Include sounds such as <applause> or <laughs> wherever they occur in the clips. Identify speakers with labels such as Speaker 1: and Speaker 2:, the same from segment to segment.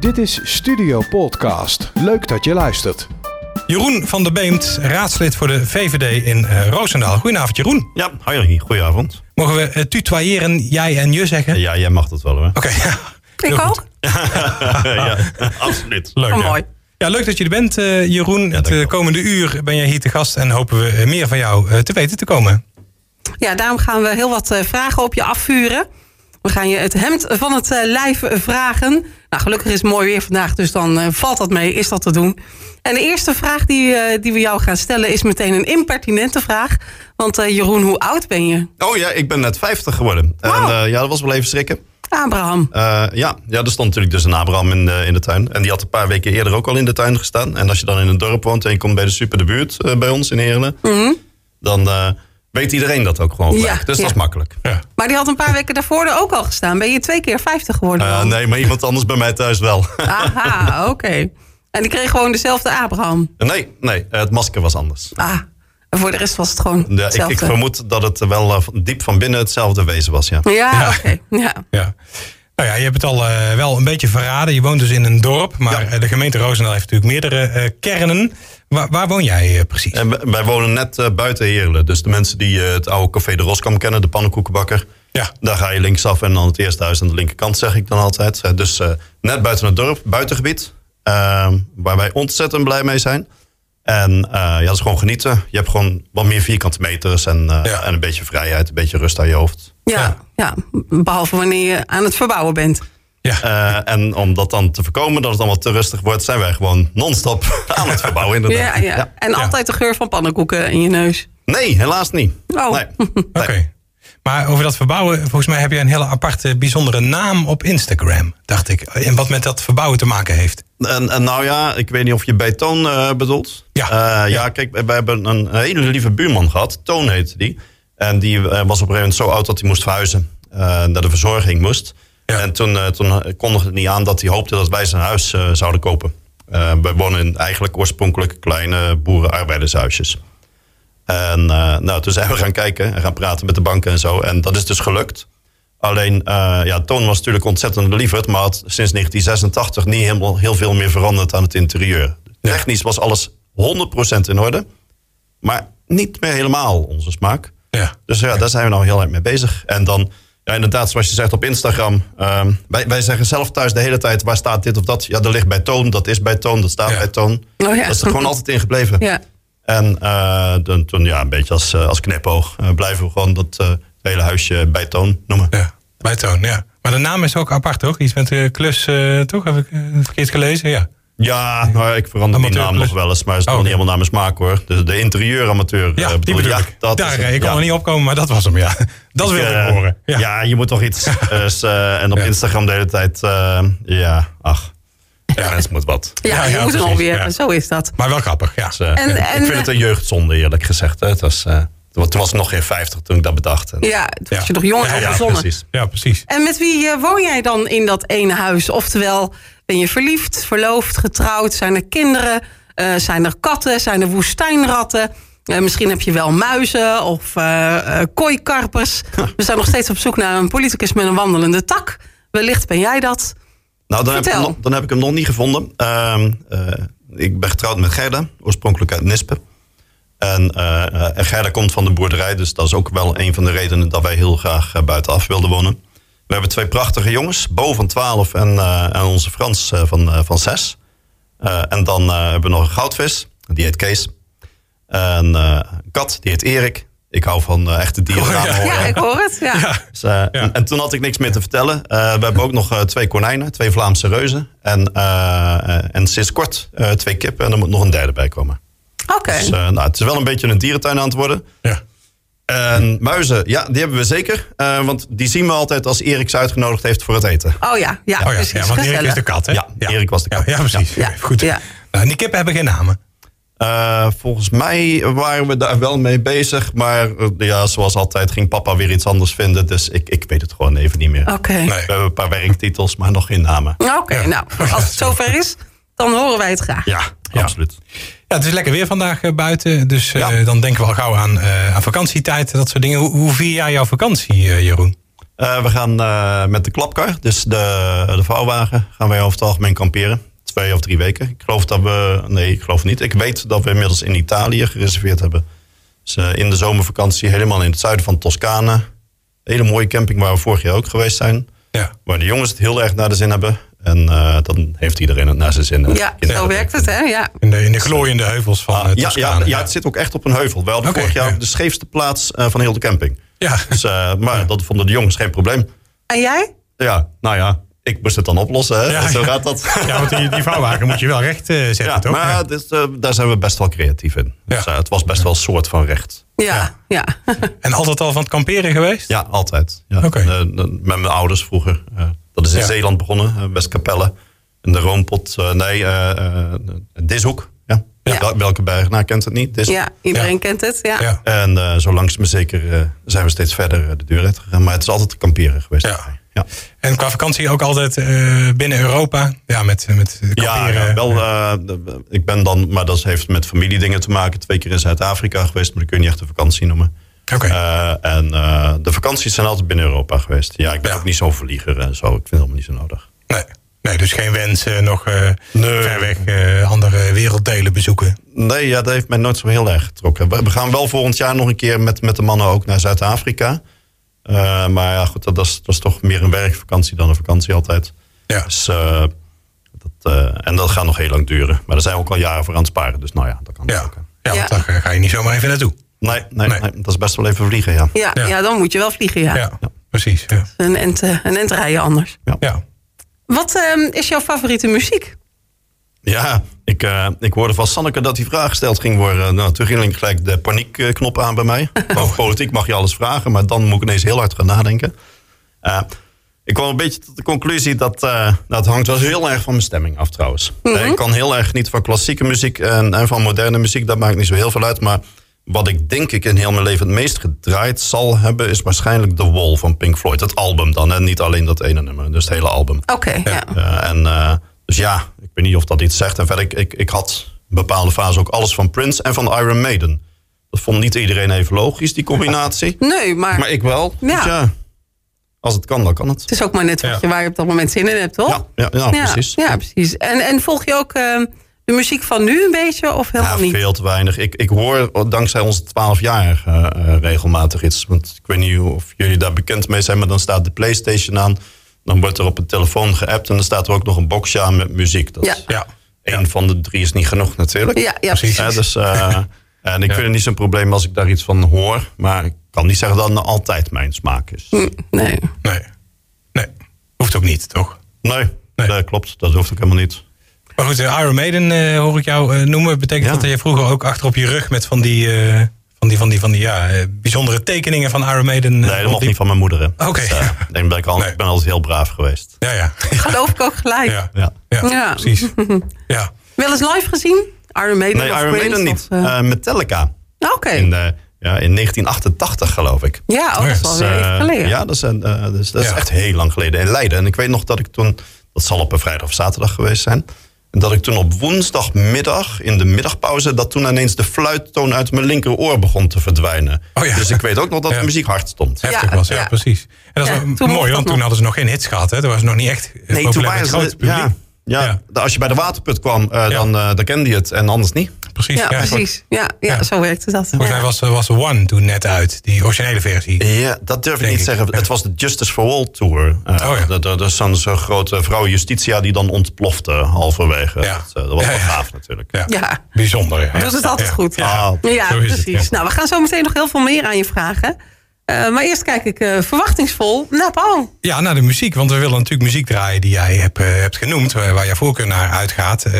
Speaker 1: Dit is Studio Podcast. Leuk dat je luistert.
Speaker 2: Jeroen van der Beemt, raadslid voor de VVD in eh, Roosendaal. Goedenavond, Jeroen.
Speaker 3: Ja, hoi, goedenavond.
Speaker 2: Mogen we eh, tutoyeren, jij en je zeggen?
Speaker 3: Ja, jij mag dat wel hoor.
Speaker 2: Oké, <laughs> ja,
Speaker 4: Ik
Speaker 2: goed.
Speaker 4: ook.
Speaker 3: ja, absoluut.
Speaker 2: leuk.
Speaker 4: Oh,
Speaker 2: ja.
Speaker 4: mooi.
Speaker 2: Ja, leuk dat je er bent, eh, Jeroen. Het eh,
Speaker 3: dankjewel.
Speaker 2: komende uur ben jij hier te gast en hopen we eh, meer van jou eh, te weten te komen.
Speaker 4: Ja, daarom gaan we heel wat eh, vragen op je afvuren. We gaan je het hemd van het eh, lijf vragen. Nou, gelukkig is het mooi weer vandaag, dus dan eh, valt dat mee, is dat te doen. En de eerste vraag die, eh, die we jou gaan stellen is meteen een impertinente vraag. Want eh, Jeroen, hoe oud ben je?
Speaker 3: Oh ja, ik ben net 50 geworden. En
Speaker 4: Wauw.
Speaker 3: eh, ja, dat was wel even schrikken.
Speaker 4: Abraham.
Speaker 3: Eh, ja, ja, er stond natuurlijk dus een Abraham in de, in de tuin. En die had een paar weken eerder ook al in de tuin gestaan. En als je dan in een dorp woont en je komt bij de super de buurt eh, bij ons in Heerlen. Dan eh, weet iedereen dat ook gewoon gelijk.
Speaker 4: Ja,
Speaker 3: dus dat
Speaker 4: ja.
Speaker 3: is makkelijk.
Speaker 4: Maar die had een paar weken daarvoor er ook al gestaan. Ben je twee keer 50 geworden?
Speaker 3: Eh,
Speaker 4: dan?
Speaker 3: nee, maar iemand anders bij mij thuis wel. <laughs>
Speaker 4: Aha, oké. En die kreeg gewoon dezelfde Abraham.
Speaker 3: nee, nee, het masker was anders.
Speaker 4: Ah, en voor de rest was het gewoon
Speaker 3: Ja, ik,
Speaker 4: hetzelfde.
Speaker 3: ik vermoed dat het wel eh, diep van binnen hetzelfde wezen was, ja.
Speaker 4: Ja,
Speaker 2: Ja.
Speaker 4: oké. Ja.
Speaker 2: Ja. Nou ja, je hebt het al eh, wel een beetje verraden. Je woont dus in een dorp, maar eh, de gemeente Roosendaal heeft natuurlijk meerdere eh, kernen. Waar, waar woon jij eh, precies?
Speaker 3: En w- wij wonen net eh, buiten Heerlen. Dus de mensen die eh, het oude café de Roskam kennen, de pannenkoekenbakker.
Speaker 2: Ja.
Speaker 3: Daar ga je linksaf en dan het eerste huis aan de linkerkant, zeg ik dan altijd. Eh, dus eh, net buiten het dorp, buitengebied. ehm, waar wij ontzettend blij mee zijn. En eh, ja, dat is gewoon genieten. Je hebt gewoon wat meer vierkante meters en, eh,
Speaker 2: Ja.
Speaker 3: en een beetje vrijheid, een beetje rust aan je hoofd.
Speaker 4: Ja, ja. behalve wanneer je aan het verbouwen bent.
Speaker 2: ja.
Speaker 3: Eh, en om dat dan te voorkomen, dat het allemaal te rustig wordt, zijn wij gewoon non-stop <laughs> aan het verbouwen
Speaker 4: Ja,
Speaker 3: inderdaad.
Speaker 4: ja.
Speaker 3: Ja.
Speaker 4: En
Speaker 2: Ja.
Speaker 4: altijd de geur van pannenkoeken in je neus.
Speaker 3: Nee, helaas niet.
Speaker 4: Oh.
Speaker 3: Nee.
Speaker 2: Oké. Maar over dat verbouwen, volgens mij heb je een hele aparte, bijzondere naam op Instagram, dacht ik. En wat met dat verbouwen te maken heeft.
Speaker 3: En, en nou ja, ik weet niet of je bij Toon eh, bedoelt.
Speaker 2: Ja.
Speaker 3: Eh,
Speaker 2: Ja.
Speaker 3: ja, kijk, we hebben een hele lieve buurman gehad. Toon heette die. En die eh, was op een gegeven moment zo oud dat hij moest verhuizen. eh, naar de verzorging moest.
Speaker 2: Ja.
Speaker 3: En toen, eh, toen kondigde het niet aan dat hij hoopte dat wij zijn huis eh, zouden kopen. Eh we wonen in eigenlijk oorspronkelijk kleine boeren-arbeidershuisjes. En eh, nou, toen zijn we gaan kijken en gaan praten met de banken en zo. En dat is dus gelukt. Alleen, eh, ja, Toon was natuurlijk ontzettend lieverd, maar had sinds 1986 niet helemaal heel veel meer veranderd aan het interieur. Technisch was alles 100% in orde, maar niet meer helemaal onze smaak.
Speaker 2: Ja.
Speaker 3: Dus ja, daar zijn we nou heel hard mee bezig. En dan, ja, inderdaad, zoals je zegt op Instagram. ehm, wij, wij zeggen zelf thuis de hele tijd: waar staat dit of dat? Ja, dat ligt bij Toon, dat is bij Toon, dat staat
Speaker 2: Ja.
Speaker 3: bij Toon.
Speaker 4: Oh ja.
Speaker 3: Dat is er gewoon altijd in gebleven.
Speaker 4: Ja.
Speaker 3: En eh, dan, toen, ja, een beetje als, eh, als knipoog eh, blijven we gewoon dat eh, hele huisje bij Toon noemen.
Speaker 2: Ja, bij Toon, ja. Maar de naam is ook apart, toch? Iets met de klus, eh, toch? Heb ik eh, verkeerd gelezen? Ja.
Speaker 3: Ja, nou, ik verander die
Speaker 2: Amateur
Speaker 3: naam
Speaker 2: plus.
Speaker 3: nog wel eens, maar is
Speaker 2: Oh,
Speaker 3: toch niet
Speaker 2: oké.
Speaker 3: helemaal naar mijn smaak hoor. Dus De, de interieuramateur.
Speaker 2: Ja,
Speaker 3: eh,
Speaker 2: die bedoel
Speaker 3: ja,
Speaker 2: ik.
Speaker 3: dat
Speaker 2: Daar,
Speaker 3: is
Speaker 2: eh,
Speaker 3: het,
Speaker 2: ik kon
Speaker 3: ja.
Speaker 2: er niet opkomen, maar dat was hem, ja. Dat wilde ik
Speaker 3: eh,
Speaker 2: horen. Ja.
Speaker 3: Ja. je moet toch <laughs> iets. Dus, eh, en op
Speaker 2: Ja.
Speaker 3: Instagram de hele tijd. eh, ja, ach. Ja, mensen moet wat.
Speaker 4: Ja,
Speaker 2: Ja,
Speaker 4: je
Speaker 2: ja,
Speaker 4: moet er
Speaker 2: precies,
Speaker 4: alweer.
Speaker 2: ja.
Speaker 4: Zo is dat.
Speaker 2: Maar wel grappig, ja.
Speaker 3: Dus, eh,
Speaker 4: En-
Speaker 3: ik
Speaker 4: en-
Speaker 3: vind het een jeugdzonde, eerlijk gezegd. Hè. Het was, eh, toen toen was ik nog geen 50 toen ik dat bedacht. En-
Speaker 4: Ja, toen was
Speaker 2: Ja.
Speaker 4: je nog jong en
Speaker 3: ja,
Speaker 4: onbezonnen.
Speaker 3: precies.
Speaker 2: Ja, precies.
Speaker 4: en met wie eh, woon jij dan in dat ene huis? Oftewel, ben je verliefd, verloofd, getrouwd? Zijn er kinderen? Eh, zijn er katten? Zijn er woestijnratten? Eh, misschien heb je wel muizen of eh, eh, kooikarpers. We zijn nog steeds op zoek naar een politicus met een wandelende tak. Wellicht ben jij dat.
Speaker 3: Nou, dan heb, ik hem,
Speaker 4: Vertel.
Speaker 3: nog- dan heb ik hem nog niet gevonden. Ehm, eh, ik ben getrouwd met Gerda, oorspronkelijk uit Nispen. En, eh, eh, en Gerda komt van de boerderij, dus dat is ook wel een van de redenen dat wij heel graag eh, buitenaf wilden wonen. We hebben twee prachtige jongens, Bo van 12 en, eh, en onze Frans eh, van, eh, van 6. Eh, en dan eh, hebben we nog een goudvis, die heet Kees. En eh, een kat, die heet Erik. Ik hou van eh, echte dieren.
Speaker 4: Ja, ik hoor het. ja.
Speaker 3: Dus, eh, en, en toen had ik niks meer te vertellen. Eh, we hebben ook nog eh, twee konijnen, twee Vlaamse reuzen. En, eh, eh, en sinds kort eh, twee kippen. En er moet nog een derde bij komen.
Speaker 4: Oké.
Speaker 3: Dus eh, nou, het is wel een beetje een dierentuin aan het worden.
Speaker 2: Ja.
Speaker 3: En muizen, ja, die hebben we zeker. Eh, want die zien we altijd als Erik ze uitgenodigd heeft voor het eten.
Speaker 4: Oh ja, ja,
Speaker 2: Oh ja,
Speaker 4: precies.
Speaker 2: ja want Erik
Speaker 4: gezellig.
Speaker 2: is de kat, hè?
Speaker 3: Ja, Erik was de kat.
Speaker 2: Ja, ja, precies.
Speaker 4: Ja.
Speaker 2: Goed.
Speaker 4: Ja.
Speaker 2: Nou, en die kippen hebben geen namen.
Speaker 3: Eh, volgens mij waren we daar wel mee bezig. Maar eh, ja, zoals altijd ging papa weer iets anders vinden. Dus ik, ik weet het gewoon even niet meer.
Speaker 4: Oké.
Speaker 3: We hebben een paar werktitels, maar nog geen namen.
Speaker 4: Oké,
Speaker 2: Ja.
Speaker 4: nou, als het zover is, dan horen wij het graag.
Speaker 3: Ja,
Speaker 2: Ja.
Speaker 3: absoluut.
Speaker 2: Ja, het is lekker weer vandaag eh, buiten, dus eh,
Speaker 3: Ja.
Speaker 2: dan denken we al gauw aan, eh, aan vakantietijd, dat soort dingen. Hoe, hoe vier jij jouw vakantie, eh, Jeroen?
Speaker 3: Eh, we gaan eh, met de klapkar, dus de, de vouwwagen, gaan wij over het algemeen kamperen. Twee of drie weken. Ik geloof dat we. Nee, ik geloof niet. Ik weet dat we inmiddels in Italië gereserveerd hebben. Dus eh, in de zomervakantie helemaal in het zuiden van Toscane. Hele mooie camping waar we vorig jaar ook geweest zijn.
Speaker 2: Ja.
Speaker 3: Waar de jongens het heel erg naar de zin hebben. En eh, dan heeft iedereen het naar zijn zin. En de
Speaker 4: Ja,
Speaker 3: kinderen
Speaker 4: zo werkt het, hè? Ja.
Speaker 2: In de, in de glooiende heuvels van eh,
Speaker 3: Ah, ja, ja,
Speaker 2: Toscane.
Speaker 3: ja, het zit ook echt op een heuvel. Wel
Speaker 2: Oké,
Speaker 3: vorig jaar
Speaker 2: ja.
Speaker 3: de scheefste plaats eh, van heel de camping.
Speaker 2: Ja.
Speaker 3: Dus, eh, maar dat vonden de jongens geen probleem.
Speaker 4: En jij?
Speaker 3: Ja, nou ja, ik moest het dan oplossen. Hè?
Speaker 2: Ja,
Speaker 3: Zo
Speaker 2: ja.
Speaker 3: gaat dat.
Speaker 2: Ja, want die, die vouwwagen moet je wel recht eh, zetten,
Speaker 3: Ja,
Speaker 2: toch? Ja.
Speaker 3: maar dus, eh, daar zijn we best wel creatief in. Dus,
Speaker 2: Ja.
Speaker 3: eh, het was best wel een soort van recht.
Speaker 4: Ja, ja. <laughs>
Speaker 2: En altijd al van het kamperen geweest?
Speaker 3: Ja, altijd. Ja.
Speaker 2: Oké.
Speaker 3: En, eh, dan- met mijn ouders vroeger. eh, dat is in
Speaker 2: Ja.
Speaker 3: Zeeland begonnen, eh, Westkapelle. In de Roompot, eh, nee, eh, eh, Dishoek. Ja.
Speaker 4: Ja.
Speaker 3: Wel- welke bergnaar kent het niet? Dishoek.
Speaker 4: ja iedereen
Speaker 2: Ja.
Speaker 4: kent het. Ja.
Speaker 2: Ja.
Speaker 3: En eh, zo langs maar zeker eh, zijn we steeds verder eh, de deur uit gegaan. Maar het is altijd kamperen geweest.
Speaker 2: Ja.
Speaker 3: Ja.
Speaker 2: En qua vakantie ook altijd eh, binnen Europa? Ja, met, eh, met kamperen.
Speaker 3: Ja, ja, wel. eh, de- ik ben dan, maar dat heeft met familiedingen te maken. Twee keer in Zuid-Afrika geweest, maar dat kun je niet echt een vakantie noemen.
Speaker 2: Oké.
Speaker 3: Eh, en eh, de vakanties zijn altijd binnen Europa geweest. Ja, ik ben
Speaker 2: Ja.
Speaker 3: ook niet zo'n vlieger en zo. Ik vind het helemaal niet zo nodig.
Speaker 2: Nee. nee, dus geen wensen, nog eh, ver weg eh, andere werelddelen bezoeken.
Speaker 3: Nee, ja, dat heeft mij nooit zo heel erg getrokken. We, we gaan wel volgend jaar nog een keer met, met de mannen ook naar Zuid-Afrika. Eh, maar ja, goed, dat, dat, is, dat is toch meer een werkvakantie dan een vakantie altijd.
Speaker 2: Ja.
Speaker 3: Dus, eh, dat, eh, en dat gaat nog heel lang duren. Maar daar zijn we ook al jaren voor aan het sparen. Dus nou ja, dat kan
Speaker 2: Ja,
Speaker 3: ook. hè.
Speaker 2: ja, want
Speaker 4: Ja.
Speaker 2: daar ga je niet zomaar even naartoe.
Speaker 3: Nee, nee,
Speaker 2: Nee.
Speaker 3: nee. dat is best wel even vliegen, ja.
Speaker 4: Ja,
Speaker 2: Ja.
Speaker 4: ja, dan moet je wel vliegen, ja.
Speaker 2: Ja, precies. Ja.
Speaker 4: Een, ent, eh, een ent rijden anders.
Speaker 2: Ja.
Speaker 4: Wat ehm, is jouw favoriete muziek?
Speaker 3: Ja, ik, eh, ik hoorde van Sanneke dat die vraag gesteld ging worden. Nou, toen ging gelijk de paniekknop aan bij mij. Over politiek mag je alles vragen, maar dan moet ik ineens heel hard gaan nadenken. Eh, ik kwam een beetje tot de conclusie dat... eh nou, het hangt wel heel erg van mijn stemming af trouwens. Eh, ik kan heel erg niet van klassieke muziek en, en van moderne muziek. Dat maakt niet zo heel veel uit. Maar wat ik denk ik in heel mijn leven het meest gedraaid zal hebben... is waarschijnlijk The Wall van Pink Floyd. Het album dan, en niet alleen dat ene nummer. Dus het hele album.
Speaker 4: Oké, ja.
Speaker 3: Eh, en, eh, dus ja, ik weet niet of dat iets zegt. En verder, ik, ik, ik had een bepaalde fase ook alles van Prince en van Iron Maiden. Dat vond niet iedereen even logisch, die combinatie.
Speaker 4: Nee, maar,
Speaker 3: Maar ik wel.
Speaker 4: Ja.
Speaker 3: Dus ja, als het kan, dan kan het.
Speaker 4: het is ook maar net wat
Speaker 2: Ja.
Speaker 4: je, waar je op dat moment zin in hebt, toch?
Speaker 3: Ja, ja, ja, precies.
Speaker 4: Ja, precies. En, en volg je ook ehm, de muziek van nu een beetje of helemaal
Speaker 3: Ja,
Speaker 4: niet?
Speaker 3: veel te weinig. Ik, ik hoor dankzij onze 12 jaar eh, eh, regelmatig iets. Want ik weet niet of jullie daar bekend mee zijn, maar dan staat de PlayStation aan. Dan wordt er op een telefoon geappt en dan staat er ook nog een boxje aan met muziek. Dat
Speaker 4: Ja.
Speaker 3: is-
Speaker 2: Ja.
Speaker 3: Eén van de drie is niet genoeg natuurlijk.
Speaker 4: Ja, ja,
Speaker 2: Precies.
Speaker 4: precies.
Speaker 3: Hè,
Speaker 2: <laughs>
Speaker 3: dus, eh, en ik vind het niet zo'n probleem als ik daar iets van hoor. Maar ik kan niet zeggen dat het nou altijd mijn smaak is.
Speaker 4: Hm. Nee.
Speaker 2: Nee. Nee. Hoeft ook niet, toch?
Speaker 3: Nee,
Speaker 2: Nee.
Speaker 3: dat klopt. Dat hoeft ook helemaal niet.
Speaker 2: Maar goed, eh, Iron Maiden eh, hoor ik jou eh, noemen. Betekent
Speaker 3: Ja.
Speaker 2: dat je vroeger ook achter op je rug met van die, eh, van die, van die, van die ja, eh, bijzondere tekeningen van Iron Maiden? eh,
Speaker 3: Nee, dat
Speaker 2: op
Speaker 3: mocht
Speaker 2: die-
Speaker 3: niet van mijn moeder. hè.
Speaker 2: Oké.
Speaker 3: Dus, eh, ik denk dat ik, al,
Speaker 2: Nee.
Speaker 3: ik ben altijd heel braaf geweest.
Speaker 2: Ja, ja.
Speaker 4: Geloof ik ook gelijk.
Speaker 2: Ja, ja.
Speaker 3: Ja.
Speaker 2: ja,
Speaker 4: Ja.
Speaker 2: precies. Ja.
Speaker 4: Wel eens live gezien? Iron Maiden
Speaker 3: Nee,
Speaker 4: of
Speaker 3: Iron
Speaker 4: Prince
Speaker 3: Maiden niet.
Speaker 4: of, eh,
Speaker 3: Eh, Metallica.
Speaker 4: Oké.
Speaker 3: In, eh, ja, in 1988 geloof ik.
Speaker 4: Ja, oh, dat is wel
Speaker 3: Dus,
Speaker 4: weer
Speaker 3: eh,
Speaker 4: even geleden.
Speaker 3: ja, dat is, een, eh, dat is- dat is
Speaker 2: Ja.
Speaker 3: echt heel lang geleden in Leiden. En ik weet nog dat ik toen, dat zal op een vrijdag of zaterdag geweest zijn. En dat ik toen op woensdagmiddag, in de middagpauze, dat toen ineens de fluittoon uit mijn linkeroor begon te verdwijnen.
Speaker 2: Oh ja.
Speaker 3: Dus ik weet ook nog dat
Speaker 2: Ja.
Speaker 3: de muziek hard stond.
Speaker 2: Heftig was, ja,
Speaker 4: ja.
Speaker 2: precies. En dat is
Speaker 4: Ja,
Speaker 2: wel
Speaker 4: toen mocht
Speaker 2: mooi,
Speaker 4: dat
Speaker 2: want toen
Speaker 4: nog.
Speaker 2: hadden ze nog geen hits gehad. Hè? Toen was het nog niet echt eh,
Speaker 3: Nee, toen
Speaker 2: populair met
Speaker 3: waren
Speaker 2: het
Speaker 3: ze.
Speaker 2: grote publiek.
Speaker 3: ja, ja,
Speaker 2: Ja.
Speaker 3: de- als je bij de waterput kwam, eh, dan, eh, dan kende je het en anders niet.
Speaker 2: Precies.
Speaker 4: ja, precies. Ja, ja,
Speaker 2: Ja.
Speaker 4: zo werkte dat.
Speaker 2: Volgens
Speaker 4: Ja.
Speaker 2: mij was, was One toen net uit, die originele versie.
Speaker 3: Ja, dat durf ik
Speaker 2: Denk
Speaker 3: niet
Speaker 2: ik,
Speaker 3: zeggen.
Speaker 2: ja.
Speaker 3: Het was de Justice for All Tour. Eh
Speaker 2: Oh ja.
Speaker 3: dat- dat- Dat is zo'n zo'n grote vrouw Justitia die dan ontplofte halverwege.
Speaker 2: Ja.
Speaker 3: Dat, eh, dat was
Speaker 2: Ja,
Speaker 3: wel
Speaker 2: ja.
Speaker 3: gaaf natuurlijk.
Speaker 2: Ja.
Speaker 4: Ja.
Speaker 2: Bijzonder, ja.
Speaker 4: Doet het Dus altijd
Speaker 2: Ja.
Speaker 4: goed.
Speaker 2: Ja,
Speaker 3: Ah.
Speaker 4: Ja,
Speaker 2: Zo is het,
Speaker 4: precies.
Speaker 2: ja.
Speaker 4: Nou, we gaan zo meteen nog heel veel meer aan je vragen. Eh, maar eerst kijk ik eh, verwachtingsvol naar Paul.
Speaker 2: Ja, naar de muziek. Want we willen natuurlijk muziek draaien die jij hebt, eh, hebt genoemd. Waar, waar jouw voorkeur naar uitgaat. Eh,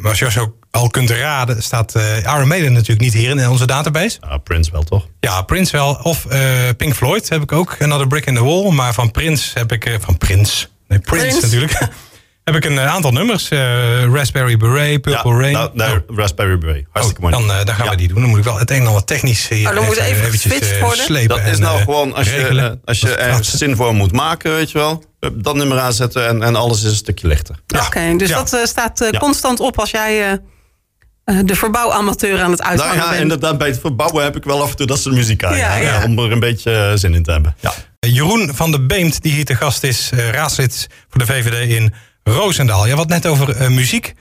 Speaker 2: maar als je zo al kunt raden, staat eh Iron Maiden natuurlijk niet hier in onze database.
Speaker 3: Ja, Prince wel toch?
Speaker 2: Ja, Prince wel. Of eh, Pink Floyd heb ik ook. Another Brick in the Wall. Maar van Prince heb ik... eh, van Prince? Nee, Prince,
Speaker 4: Prince.
Speaker 2: natuurlijk. <laughs> heb ik een eh, aantal nummers. eh, Raspberry Beret, Purple Rain.
Speaker 3: nou, nee,
Speaker 2: Oh.
Speaker 3: Raspberry Beret. Hartstikke
Speaker 2: Oh,
Speaker 3: mooi.
Speaker 2: dan, eh, dan gaan
Speaker 3: Ja.
Speaker 2: we die doen. Dan moet ik wel het een en ander technisch hier
Speaker 4: Oh, dan moet even
Speaker 2: eventjes,
Speaker 4: geswitcht
Speaker 2: eh,
Speaker 4: worden.
Speaker 2: slepen.
Speaker 3: dat is
Speaker 2: en,
Speaker 3: nou
Speaker 2: eh,
Speaker 3: gewoon als je,
Speaker 2: regelen.
Speaker 3: eh, als je
Speaker 2: Dat is het
Speaker 3: ergens
Speaker 2: laatste.
Speaker 3: zin voor moet maken, weet je wel. hup, Dat nummer aanzetten en, en alles is een stukje lichter.
Speaker 2: Ja.
Speaker 4: Oké, dus
Speaker 2: Ja.
Speaker 4: dat eh, staat eh,
Speaker 3: Ja.
Speaker 4: constant op als jij eh, eh, de verbouwamateur aan het
Speaker 3: Nou
Speaker 4: uithangen
Speaker 3: ja,
Speaker 4: bent.
Speaker 3: inderdaad, bij het verbouwen heb ik wel af en toe dat soort muziek aan.
Speaker 4: Ja,
Speaker 3: Ja,
Speaker 4: ja.
Speaker 3: Om er een beetje eh, zin in te hebben. Ja.
Speaker 2: Eh, Jeroen van de Beemt, die hier te gast is, eh, raadslid voor de VVD in Roosendaal. Je had net over eh, muziek,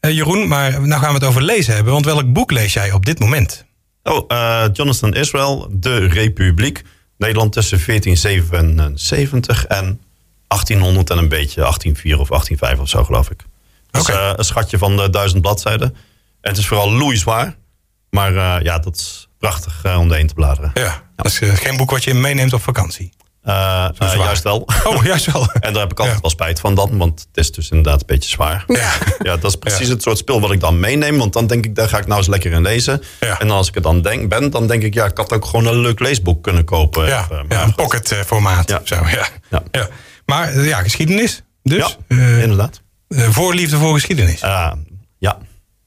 Speaker 2: eh, Jeroen, maar nou gaan we het over lezen hebben. Want welk boek lees jij op dit moment?
Speaker 3: Oh, eh, Jonathan Israel, De Republiek. Nederland tussen 1477 en 1800 en een beetje. 184 of 185 of zo, geloof ik. Dat is
Speaker 2: Oké.
Speaker 3: eh, een schatje van eh, duizend bladzijden. En het is vooral loeizwaar. Maar eh, ja, dat is prachtig eh, om heen te bladeren.
Speaker 2: Ja, dat is eh, geen boek wat je meeneemt op
Speaker 3: <laughs>
Speaker 2: vakantie.
Speaker 3: Eh, eh,
Speaker 2: zwaar.
Speaker 3: juist
Speaker 2: <laughs>
Speaker 3: wel.
Speaker 2: Oh, juist wel.
Speaker 3: En daar heb ik altijd
Speaker 2: Ja.
Speaker 3: wel spijt van dan, want het is dus inderdaad een beetje zwaar.
Speaker 4: Ja.
Speaker 3: Ja, dat is precies het soort speel wat ik dan meeneem, want dan denk ik, daar ga ik nou eens lekker in lezen.
Speaker 2: Ja.
Speaker 3: En als ik er dan denk, ben, dan denk ik, ja, ik had ook gewoon een leuk leesboek kunnen kopen.
Speaker 2: Ja,
Speaker 3: Eh, maar
Speaker 2: ja een
Speaker 3: goed.
Speaker 2: pocket eh, formaat.
Speaker 3: Ja.
Speaker 2: Zo, ja. Ja.
Speaker 3: Ja.
Speaker 2: Maar eh, ja, geschiedenis. Dus
Speaker 3: Ja,
Speaker 2: eh,
Speaker 3: inderdaad.
Speaker 2: eh, voorliefde voor geschiedenis.
Speaker 3: Eh, ja.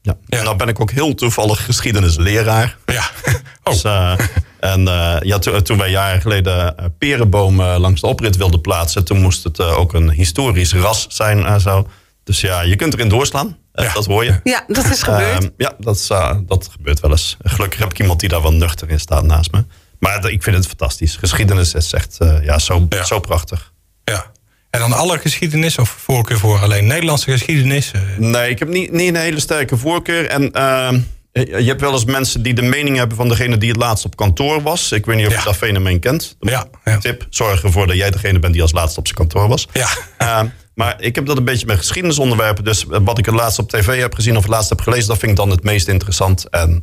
Speaker 3: Ja.
Speaker 2: Ja.
Speaker 3: En dan ben ik ook heel toevallig geschiedenisleraar.
Speaker 2: Ja. <laughs> Oh, <laughs>
Speaker 3: Dus, eh, en eh, ja, to- toen wij jaren geleden eh, perenbomen langs de oprit wilden plaatsen, toen moest het eh, ook een historisch ras zijn en zo. Dus ja, je kunt erin doorslaan. Eh,
Speaker 2: Ja.
Speaker 3: Dat hoor je.
Speaker 4: Ja, dat is gebeurd.
Speaker 3: Ehm, ja, dat, is, eh, dat gebeurt wel eens. Gelukkig heb ik iemand die daar wel nuchter in staat naast me. Maar d- ik vind het fantastisch. Geschiedenis is echt eh, ja, zo,
Speaker 2: Ja.
Speaker 3: zo prachtig.
Speaker 2: ja. En dan alle geschiedenis of voorkeur voor alleen Nederlandse geschiedenis? Eh,
Speaker 3: Nee, ik heb niet, niet een hele sterke voorkeur. En ehm, je je hebt wel eens mensen die de mening hebben van degene die het laatst op kantoor was. Ik weet niet of
Speaker 2: Ja.
Speaker 3: je dat fenomeen kent.
Speaker 2: Ja, ja.
Speaker 3: Tip, zorg ervoor dat jij degene bent die als laatste op zijn kantoor was.
Speaker 2: Ja.
Speaker 3: Ehm, maar ik heb dat een beetje met geschiedenisonderwerpen. Dus eh, wat ik het laatst op tv heb gezien of het laatst heb gelezen, dat vind ik dan het meest interessant. En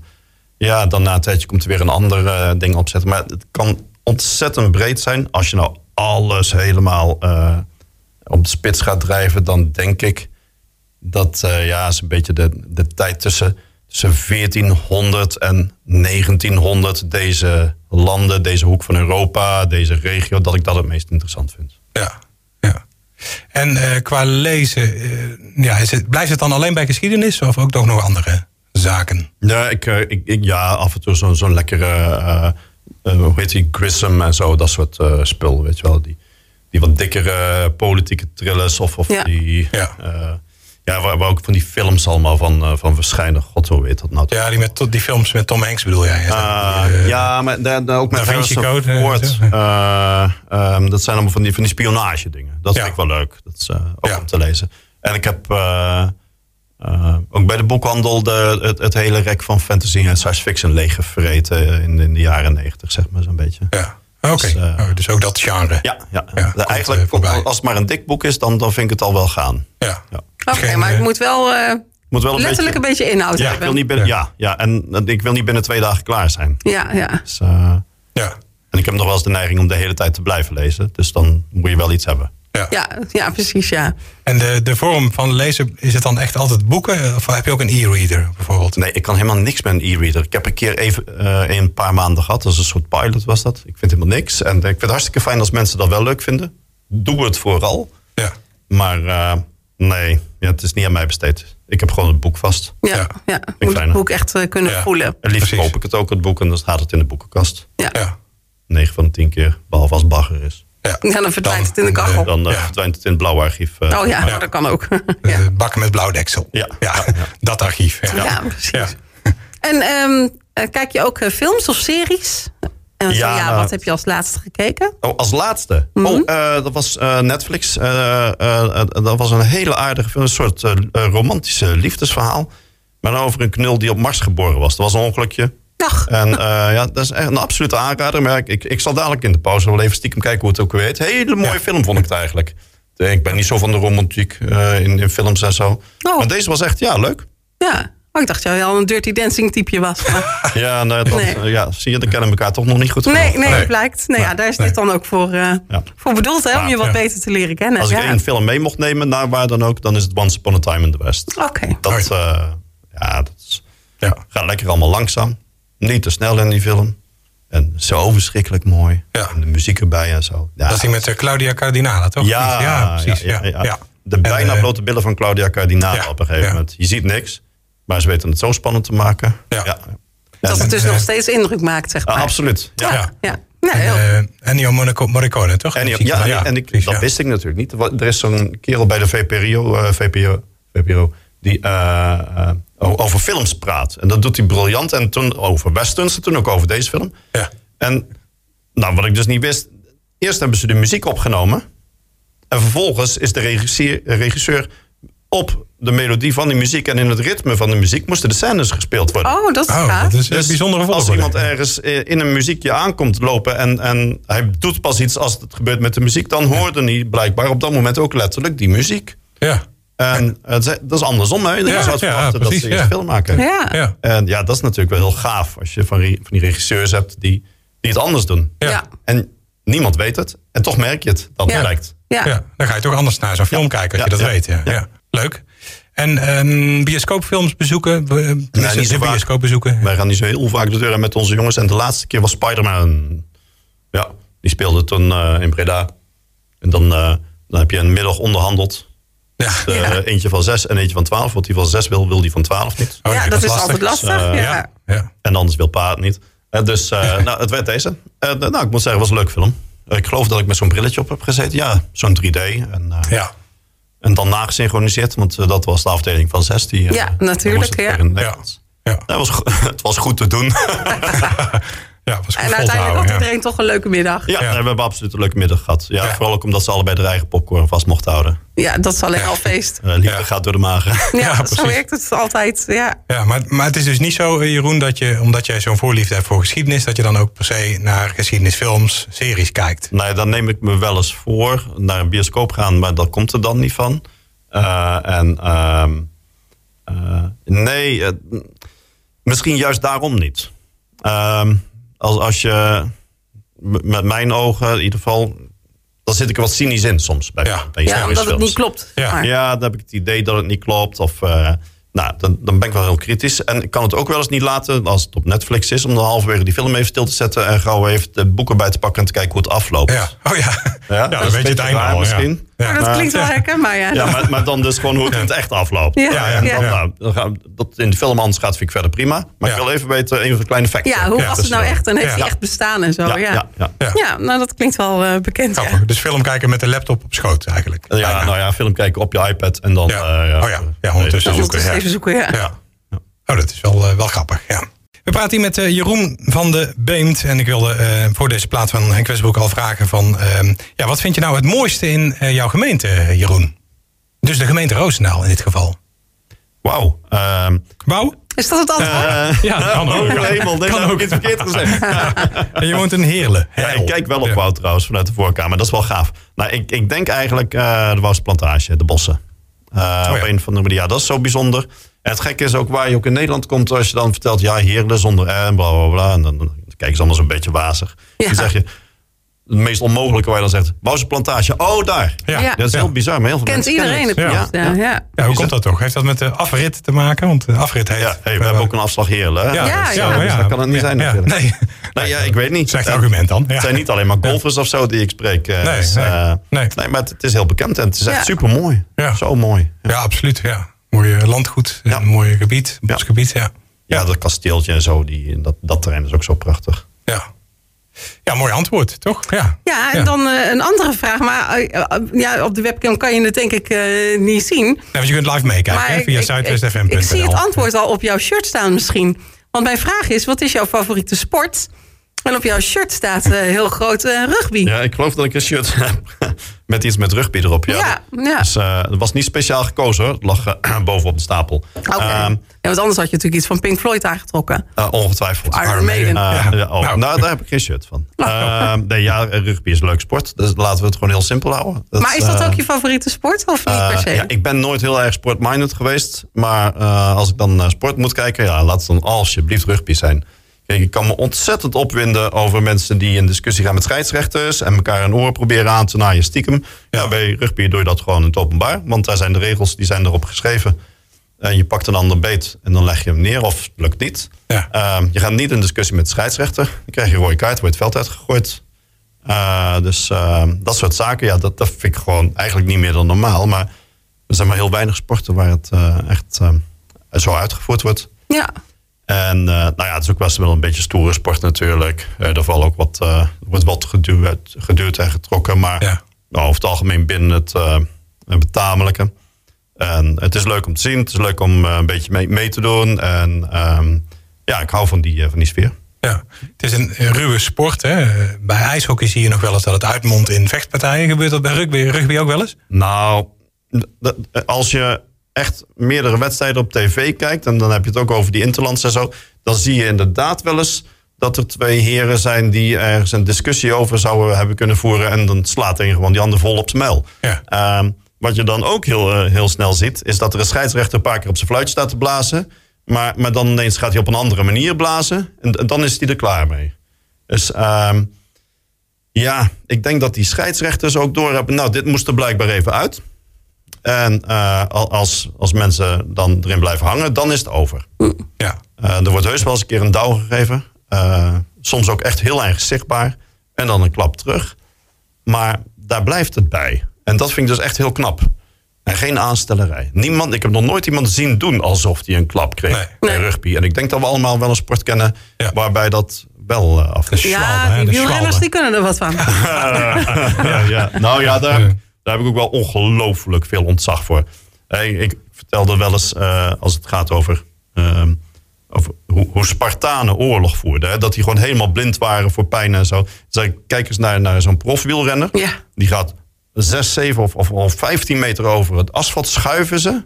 Speaker 3: ja, dan na een tijdje komt er weer een ander eh, ding opzetten. Maar het kan ontzettend breed zijn. Als je nou alles helemaal eh, op de spits gaat drijven, dan denk ik dat eh, ja, is een beetje de, de tijd tussen, tussen 1400 en 1900. Deze landen, deze hoek van Europa, deze regio, dat ik dat het meest interessant vind.
Speaker 2: Ja, ja. En eh, qua lezen, eh, ja, is het, blijft het dan alleen bij geschiedenis of ook toch nog andere zaken?
Speaker 3: Ja, ik, eh, ik, ik- ja af en toe zo'n zo'n lekkere, eh, eh, hoe heet die, Grissom en zo, dat soort eh, spul, weet je wel. Die, die wat dikkere eh, politieke thrillers of, of
Speaker 4: Ja.
Speaker 3: die...
Speaker 2: Ja.
Speaker 3: eh, ja, waar, waar ook van die films allemaal van, eh, van verschijnen. God, hoe weet dat nou?
Speaker 2: Ja, die, met, tot- die films met Tom Hanks bedoel jij? hè?
Speaker 3: Ah,
Speaker 2: Die, eh,
Speaker 3: ja, maar daar, daar ook met
Speaker 2: Da Vinci
Speaker 3: Harrison
Speaker 2: Code, eh,
Speaker 3: Ford.
Speaker 2: zo,
Speaker 3: Eh, ehm, dat zijn allemaal van die, van die spionage dingen. Dat
Speaker 2: Ja.
Speaker 3: vind ik wel leuk. Dat is eh, ook
Speaker 2: Ja.
Speaker 3: om te lezen. En ik heb eh, eh, ook bij de boekhandel de, het, het hele rek van fantasy en science fiction leeggevreten in, in de jaren negentig, zeg maar zo'n beetje.
Speaker 2: ja. Oké,
Speaker 3: Dus, eh,
Speaker 2: Oh, dus ook dat genre.
Speaker 3: Ja, ja.
Speaker 2: Ja,
Speaker 3: De-
Speaker 2: komt, eh,
Speaker 3: eigenlijk,
Speaker 2: voorbij.
Speaker 3: als het maar een dik boek is, dan, dan vind ik het al wel gaan.
Speaker 2: Ja.
Speaker 3: Ja.
Speaker 4: Oké,
Speaker 2: Geen,
Speaker 4: maar
Speaker 2: eh,
Speaker 4: het moet wel eh,
Speaker 3: Moet wel een
Speaker 4: letterlijk een
Speaker 3: beetje,
Speaker 4: beetje inhoud
Speaker 3: Ja, ik
Speaker 4: hebben.
Speaker 3: wil niet binnen, ja, ja, en eh, ik wil niet binnen twee dagen klaar zijn.
Speaker 4: Ja, ja.
Speaker 3: Dus, eh,
Speaker 2: Ja,
Speaker 3: En ik heb nog wel eens de neiging om de hele tijd te blijven lezen. Dus dan moet je wel iets hebben.
Speaker 2: ja.
Speaker 4: Ja, ja, precies, ja.
Speaker 2: En de, de vorm van lezen, is het dan echt altijd boeken? Of heb je ook een e-reader bijvoorbeeld?
Speaker 3: Nee, ik kan helemaal niks met een e-reader. Ik heb een keer even eh, een paar maanden gehad. Dat is een soort pilot was dat. Ik vind helemaal niks. En eh, ik vind het hartstikke fijn als mensen dat wel leuk vinden. Doe het vooral.
Speaker 2: Ja.
Speaker 3: Maar eh, nee, ja, het is niet aan mij besteed. Ik heb gewoon het boek vast.
Speaker 4: Ja,
Speaker 2: Ja.
Speaker 4: ja.
Speaker 3: ik
Speaker 4: Moet het
Speaker 3: fijner.
Speaker 4: boek echt eh, kunnen
Speaker 2: Ja.
Speaker 4: voelen.
Speaker 3: En liefst
Speaker 2: Precies.
Speaker 3: koop ik het ook, het boek. En dan staat het in de boekenkast.
Speaker 4: Ja. ja.
Speaker 2: Ja.
Speaker 3: 9 van de 10 keer. Behalve als het bagger is.
Speaker 4: dan verdwijnt
Speaker 2: Dan-
Speaker 4: het in de kachel.
Speaker 3: Dan eh,
Speaker 2: Ja.
Speaker 3: verdwijnt het in het blauwe archief. eh.
Speaker 4: oh ja,
Speaker 2: ja.
Speaker 4: dat kan ook.
Speaker 2: Eh,
Speaker 4: ja.
Speaker 2: Bakken met blauwdeksel.
Speaker 3: Ja.
Speaker 2: Ja. Dat archief. Ja.
Speaker 4: Ja. precies. En ehm, eh, kijk je ook eh, films of series? En zo
Speaker 3: Ja,
Speaker 4: ja,
Speaker 3: nou,
Speaker 4: wat heb je als laatste gekeken?
Speaker 3: Oh, als laatste.
Speaker 4: Mhm.
Speaker 3: Oh, eh, dat was eh, Netflix. Eh, eh, eh, dat was een hele aardige film. Een soort eh, eh, romantische liefdesverhaal. Maar dan over een knul die op Mars geboren was. Dat was een ongelukje.
Speaker 4: Ach,
Speaker 3: En eh, <laughs> ja, dat is echt een absolute aanrader. Maar ja, ik, ik, ik zal dadelijk in de pauze wel even stiekem kijken hoe het ook weer heet. Hele mooie film vond ik het eigenlijk. Eh, Ik ben niet zo van de romantiek eh, in, in films en zo.
Speaker 4: Oh.
Speaker 3: Maar deze was echt, ja, leuk.
Speaker 4: ja. Oh, ik dacht dat jij wel een Dirty Dancing typeje was.
Speaker 3: <laughs>
Speaker 4: maar-
Speaker 3: Ja, en, eh, dat-
Speaker 4: Nee.
Speaker 3: eh, ja, zie je, dan kennen we elkaar toch nog niet goed
Speaker 4: nee,
Speaker 3: genoeg.
Speaker 4: nee,
Speaker 2: Nee.
Speaker 4: blijkt. Nee, ja, daar is dit dan ook voor, eh,
Speaker 3: Ja.
Speaker 4: voor bedoeld, hè? Om je wat
Speaker 2: Ja.
Speaker 4: beter te leren kennen.
Speaker 3: Als ik
Speaker 4: Ja.
Speaker 3: één film mee mocht nemen, naar waar dan ook, dan is het Once Upon a Time in the West.
Speaker 4: Oké.
Speaker 2: Oh
Speaker 3: Dat, eh, ja, dat is,
Speaker 2: Ja.
Speaker 3: gaat lekker allemaal langzaam. Niet te snel in die film. En zo verschrikkelijk mooi.
Speaker 2: Ja.
Speaker 3: En de muziek erbij en zo. Ja,
Speaker 2: Dat is die met eh, Claudia Cardinale, toch?
Speaker 3: ja,
Speaker 2: ja precies. Ja, ja,
Speaker 3: De bijna
Speaker 2: En, eh,
Speaker 3: blote billen van Claudia Cardinale
Speaker 2: ja,
Speaker 3: op een gegeven
Speaker 2: ja.
Speaker 3: moment. Je ziet niks, maar ze weten het zo spannend te maken.
Speaker 2: Ja.
Speaker 3: Ja,
Speaker 4: Dat het dus
Speaker 2: eh,
Speaker 4: nog steeds indruk maakt, zeg maar.
Speaker 3: ah, absoluut. Ja.
Speaker 2: Ja.
Speaker 4: Ja. ja. Nee,
Speaker 2: En,
Speaker 4: heel-
Speaker 2: eh, Ennio Monaco- Morricone, toch?
Speaker 3: En, ja,
Speaker 2: Die zie ik wel,
Speaker 3: en- en ik,
Speaker 2: precies,
Speaker 3: dat
Speaker 2: Ah, ja.
Speaker 3: wist ik natuurlijk niet. Wa- Er is zo'n kerel bij de VPRO, eh, VPRO, VPRO die eh, eh, o- over films praat. En dat doet hij briljant. En toen over westerns, en toen ook over deze film.
Speaker 2: Ja.
Speaker 3: En nou, wat ik dus niet wist. Eerst hebben ze de muziek opgenomen. En vervolgens is de regisseer- regisseur op de melodie van die muziek en in het ritme van de muziek moesten de scènes gespeeld worden.
Speaker 4: Oh, dat is
Speaker 2: Oh,
Speaker 4: gaaf.
Speaker 2: dat is een
Speaker 3: Dus
Speaker 2: bijzondere
Speaker 3: als
Speaker 2: volgorde.
Speaker 3: iemand ergens eh, in een muziekje aankomt lopen en, en hij doet pas iets als het gebeurt met de muziek, dan hoorde hij blijkbaar op dat moment ook letterlijk die muziek.
Speaker 2: Ja.
Speaker 3: En eh, ze- dat is andersom, hè? Je
Speaker 2: Ja,
Speaker 3: zou
Speaker 2: ja,
Speaker 3: verwachten dat
Speaker 2: precies,
Speaker 3: ze eerst
Speaker 2: ja.
Speaker 3: film maken.
Speaker 4: Ja.
Speaker 2: Ja.
Speaker 3: En ja, dat is natuurlijk wel heel gaaf als je van, re- van die regisseurs hebt die, die het anders doen.
Speaker 2: Ja.
Speaker 4: Ja.
Speaker 3: En niemand weet het. En toch merk je het. Dat
Speaker 4: Ja.
Speaker 3: blijkt.
Speaker 4: Ja.
Speaker 2: Ja, dan ga je toch anders naar zo'n film kijken als je
Speaker 3: Ja,
Speaker 2: dat
Speaker 3: ja,
Speaker 2: weet. Ja. Ja.
Speaker 3: ja.
Speaker 2: Leuk. En ehm, bioscoopfilms bezoeken? Be- tenminste,
Speaker 3: niet zo
Speaker 2: de
Speaker 3: vaak.
Speaker 2: bioscoop bezoeken?
Speaker 3: Wij gaan niet zo heel vaak de deur uit met onze jongens. En de laatste keer was Spider-Man. Ja, die speelde toen eh, in Breda. En dan, eh, dan heb je een middag onderhandeld.
Speaker 2: Ja.
Speaker 3: Eh, Eentje van zes en eentje van twaalf. Wat die van zes wil, wil die van twaalf niet.
Speaker 2: Oh,
Speaker 4: Ja,
Speaker 2: nee,
Speaker 4: dat is
Speaker 2: lastig.
Speaker 4: altijd lastig.
Speaker 3: Dus, eh,
Speaker 4: ja.
Speaker 2: Ja. ja.
Speaker 3: En anders wil pa het niet. Eh,
Speaker 2: <laughs>
Speaker 3: dus eh, nou, het werd deze. Eh, nou, ik moet zeggen, het was een leuk film. Eh, ik geloof dat ik met zo'n brilletje op heb gezeten. Ja, zo'n 3D. En, eh,
Speaker 2: Ja.
Speaker 3: en dan nagesynchroniseerd. Want eh, dat was de afdeling van zes. Die, eh,
Speaker 4: Ja,
Speaker 3: die
Speaker 4: natuurlijk,
Speaker 3: moest het
Speaker 4: ja.
Speaker 3: weer in het
Speaker 2: Ja.
Speaker 3: Nederlands.
Speaker 2: Ja.
Speaker 3: Dat was, go- <laughs> het was goed te doen.
Speaker 2: Ja, was goed vol
Speaker 4: En
Speaker 2: te
Speaker 4: uiteindelijk had
Speaker 2: houden, ja.
Speaker 4: iedereen toch een leuke middag.
Speaker 3: Ja,
Speaker 2: Ja.
Speaker 3: we hebben absoluut een leuke middag gehad. Ja,
Speaker 2: Ja.
Speaker 3: Vooral ook omdat ze allebei de eigen popcorn vast mochten houden.
Speaker 4: Ja, dat is alleen al feest.
Speaker 3: Eh, liefde
Speaker 2: Ja.
Speaker 3: gaat door de magen.
Speaker 4: Ja,
Speaker 2: Ja,
Speaker 4: zo
Speaker 2: precies.
Speaker 4: werkt het altijd. Ja.
Speaker 2: Ja, maar, maar het is dus niet zo, eh, Jeroen, dat je, omdat jij zo'n voorliefde hebt voor geschiedenis, dat je dan ook per se naar geschiedenisfilms, series kijkt.
Speaker 3: <laughs> nou, ja, dan neem ik me wel eens voor naar een bioscoop gaan, maar dat komt er dan niet van. Eh, en ehm, eh, nee, eh, misschien juist daarom niet. Ehm, als, als je m- met mijn ogen, in ieder geval, dan zit ik er wat cynisch in soms bij,
Speaker 2: Ja.
Speaker 3: bij
Speaker 4: Ja,
Speaker 3: historische
Speaker 4: omdat het
Speaker 3: films.
Speaker 4: niet klopt.
Speaker 2: Ja.
Speaker 4: Maar-
Speaker 3: Ja, dan heb ik het idee dat het niet klopt. Of, eh, nou, dan, dan ben ik wel heel kritisch. En ik kan het ook wel eens niet laten, als het op Netflix is... om dan halverwege die film even stil te zetten... en gauw even de boeken bij te pakken en te kijken hoe het afloopt.
Speaker 2: Ja. Oh ja. Ja,
Speaker 3: dat is
Speaker 2: dan
Speaker 3: een
Speaker 2: weet je het
Speaker 3: beetje
Speaker 2: einde
Speaker 3: raar
Speaker 2: al. ja.
Speaker 3: misschien.
Speaker 2: Ja.
Speaker 4: Maar dat klinkt wel herkenbaar, ja.
Speaker 3: Ja, maar, maar dan dus gewoon hoe het in het echt afloopt.
Speaker 4: Ja, ja,
Speaker 3: En
Speaker 4: ja.
Speaker 3: dan, nou, dan gaan we- dat in de film anders gaat, vind ik verder prima. Maar
Speaker 2: Ja.
Speaker 3: ik wil even weten, een van de kleine facts.
Speaker 4: Ja, hoe
Speaker 2: Ja.
Speaker 4: was het nou echt? En heeft
Speaker 2: Ja.
Speaker 4: hij echt bestaan en zo?
Speaker 3: Ja,
Speaker 4: Ja,
Speaker 3: ja,
Speaker 4: ja,
Speaker 3: ja.
Speaker 2: Ja.
Speaker 4: nou dat klinkt wel eh, bekend. Ja.
Speaker 2: Grappig. Dus film kijken met de laptop op schoot eigenlijk.
Speaker 3: Ja,
Speaker 2: Bijna.
Speaker 3: nou ja, film kijken op je iPad en dan...
Speaker 2: Ja.
Speaker 3: eh,
Speaker 2: Oh ja. Ja, ondertussen
Speaker 4: Dat
Speaker 2: zoeken.
Speaker 4: is even zoeken, ja.
Speaker 2: Ja. Oh, dat is wel, eh, wel grappig, ja. We praten hier met eh, Jeroen van de Beemt. En ik wilde eh, voor deze plaat van Henk Westbroek al vragen van... ehm, ja, wat vind je nou het mooiste in eh, jouw gemeente, eh, Jeroen? Dus de gemeente Roosendaal in dit geval.
Speaker 3: Wauw. ehm,
Speaker 2: Wauw?
Speaker 4: Is dat het antwoord?
Speaker 3: eh,
Speaker 2: Ja, dat kan ook.
Speaker 3: <laughs> oh, hemel, nee,
Speaker 2: Kan
Speaker 3: dat heb
Speaker 2: ook.
Speaker 3: ik iets verkeerd
Speaker 4: <laughs>
Speaker 3: gezegd.
Speaker 2: En je woont in Heerlen.
Speaker 3: Ja, ik kijk wel op
Speaker 2: Ja.
Speaker 3: Wout trouwens vanuit de voorkamer. Dat is wel gaaf. Nou, ik, ik denk eigenlijk eh de Woutse plantage, de bossen. Eh, Op een of andere manier. Ja, dat is zo bijzonder. En het gekke is ook waar je ook in Nederland komt. Als je dan vertelt, ja, Heerlen zonder R en bla bla bla. En dan, dan kijken ze allemaal zo'n beetje wazig.
Speaker 4: Ja.
Speaker 3: Dan zeg je, het meest onmogelijke waar je dan zegt, Woutse plantage. Oh, daar.
Speaker 2: Ja.
Speaker 4: Ja.
Speaker 3: Dat is heel bizar. Maar heel veel
Speaker 4: Kent
Speaker 3: mensen kennen
Speaker 4: iedereen het?
Speaker 3: het.
Speaker 4: Ja. Ja. Ja.
Speaker 2: Ja, hoe komt dat toch? Heeft dat met de afrit te maken? Want de afrit heet...
Speaker 3: Ja, hey, we hebben ook een afslag Heerlen. hè?
Speaker 4: Ja,
Speaker 3: dat is,
Speaker 4: ja.
Speaker 3: eh, dus
Speaker 2: maar
Speaker 3: dat kan het niet zijn
Speaker 2: Ja,
Speaker 3: natuurlijk.
Speaker 2: Nee.
Speaker 3: Nou ja, ik weet niet.
Speaker 2: Slecht
Speaker 3: Eh,
Speaker 2: argument dan. Ja.
Speaker 3: Het zijn niet alleen maar golfers of zo die ik spreek. eh,
Speaker 2: Nee,
Speaker 3: dus,
Speaker 2: nee,
Speaker 3: eh,
Speaker 2: nee.
Speaker 3: nee, maar het, het is heel bekend en het is
Speaker 4: Ja.
Speaker 3: echt super mooi.
Speaker 2: Ja.
Speaker 3: Zo mooi. Ja.
Speaker 2: Ja, absoluut. Ja. Mooi eh, landgoed, een
Speaker 3: Ja.
Speaker 2: mooi gebied, bosgebied. Ja.
Speaker 3: Ja, dat kasteeltje en zo, die, dat, dat terrein is ook zo prachtig.
Speaker 2: Ja. ja, mooi antwoord, toch? Ja,
Speaker 4: Ja, en dan eh, een andere vraag. Maar eh, eh, ja, op de webcam kan je het denk ik eh, niet zien.
Speaker 2: Ja, want je kunt live meekijken hè,
Speaker 4: Maar
Speaker 2: via
Speaker 4: ik- ik,
Speaker 2: zuidwestfm.nl.
Speaker 4: ik zie het antwoord al op jouw shirt staan misschien. Want mijn vraag is, wat is jouw favoriete sport? En op jouw shirt staat eh, heel groot eh, rugby.
Speaker 3: Ja, ik geloof dat ik een shirt heb met iets met rugby erop. Ja,
Speaker 4: Ja, ja.
Speaker 3: Dus, eh, het was niet speciaal gekozen hoor. Het lag eh, <clears throat> bovenop de stapel.
Speaker 4: Oké.
Speaker 3: Ehm,
Speaker 4: ja, want anders had je natuurlijk iets van Pink Floyd aangetrokken.
Speaker 3: eh, ongetwijfeld.
Speaker 4: Iron Maiden.
Speaker 3: Eh,
Speaker 2: Ja.
Speaker 3: ja, oh,
Speaker 2: Nou.
Speaker 3: nou. daar heb ik geen shirt van. Ehm, nee, ja, rugby is een leuk sport. Dus laten we het gewoon heel simpel houden.
Speaker 4: Maar is dat
Speaker 3: eh,
Speaker 4: ook je favoriete sport of niet per se?
Speaker 3: Eh, ja, ik ben nooit heel erg sportminded geweest. Maar eh, als ik dan naar sport moet kijken, ja, laat het dan alsjeblieft rugby zijn. Kijk, ik kan me ontzettend opwinden over mensen die in discussie gaan met scheidsrechters en elkaar een oor proberen aan te naaien stiekem. Ja. bij rugby doe je dat gewoon in het openbaar, want daar zijn de regels die zijn erop geschreven. En je pakt een ander beet en dan leg je hem neer of het lukt niet.
Speaker 2: Ja.
Speaker 3: Ehm, je gaat niet in discussie met de scheidsrechter. Dan krijg je een rode kaart, wordt het veld uitgegooid. Eh, dus ehm, dat soort zaken, ja, dat, dat vind ik gewoon eigenlijk niet meer dan normaal. Maar er zijn maar heel weinig sporten waar het eh, echt ehm, zo uitgevoerd wordt.
Speaker 4: Ja.
Speaker 3: En eh, nou ja, het is ook best wel een beetje stoere sport natuurlijk. Eh er valt ook wat, eh, er wordt wat geduwd, geduwd en getrokken. Maar
Speaker 2: Ja.
Speaker 3: nou, over het algemeen binnen het eh, betamelijke. En het is leuk om te zien. Het is leuk om eh, een beetje mee, mee te doen. En ehm, ja, ik hou van die, eh, van die sfeer.
Speaker 2: Ja, het is een eh, ruwe sport. Hè. Bij ijshockey zie je nog wel eens dat het uitmondt in vechtpartijen. Gebeurt dat bij rugby, rugby ook wel eens?
Speaker 3: Nou, d- d- als je echt meerdere wedstrijden op tv kijkt... en dan heb je het ook over die interlands en zo... dan zie je inderdaad wel eens dat er twee heren zijn... die ergens een discussie over zouden hebben kunnen voeren... en dan slaat een gewoon die ander vol op zijn muil.
Speaker 2: Ja.
Speaker 3: Ehm, wat je dan ook heel, eh, heel snel ziet... is dat er een scheidsrechter een paar keer op zijn fluit staat te blazen... maar, maar dan ineens gaat hij op een andere manier blazen... en, d- dan is hij er klaar mee. Dus... ehm, ja, ik denk dat die scheidsrechters ook door hebben. Nou, dit moest er blijkbaar even uit. En eh, al- als, als mensen dan erin blijven hangen, dan is het over.
Speaker 2: Ja.
Speaker 3: Eh, er wordt heus wel eens een keer een douw gegeven. Eh, soms ook echt heel erg zichtbaar. En dan een klap terug. Maar daar blijft het bij. En dat vind ik dus echt heel knap. En geen aanstellerij. Niemand, ik heb nog nooit iemand zien doen alsof hij een klap kreeg
Speaker 2: Nee.
Speaker 3: bij rugby. En ik denk dat we allemaal wel een sport kennen
Speaker 2: Ja.
Speaker 3: waarbij dat wel eh af is.
Speaker 2: Schwalbe,
Speaker 4: Ja,
Speaker 2: hè,
Speaker 4: die
Speaker 2: de
Speaker 4: wielrenners
Speaker 2: schwalbe.
Speaker 4: die kunnen er wat
Speaker 3: <laughs>
Speaker 4: van.
Speaker 3: ja, ja. Nou ja, daar, heb ik- daar heb ik ook wel ongelooflijk veel ontzag voor. Hey, ik vertelde wel eens, eh, als het gaat over, ehm, over hoe, hoe Spartanen oorlog voerden. Hè? Dat die gewoon helemaal blind waren voor pijn en zo. Dan Zeg, ik, kijk eens naar, naar zo'n profwielrenner.
Speaker 4: Ja.
Speaker 3: Die gaat 6, 7 of, of, of 15 meter over het asfalt schuiven ze.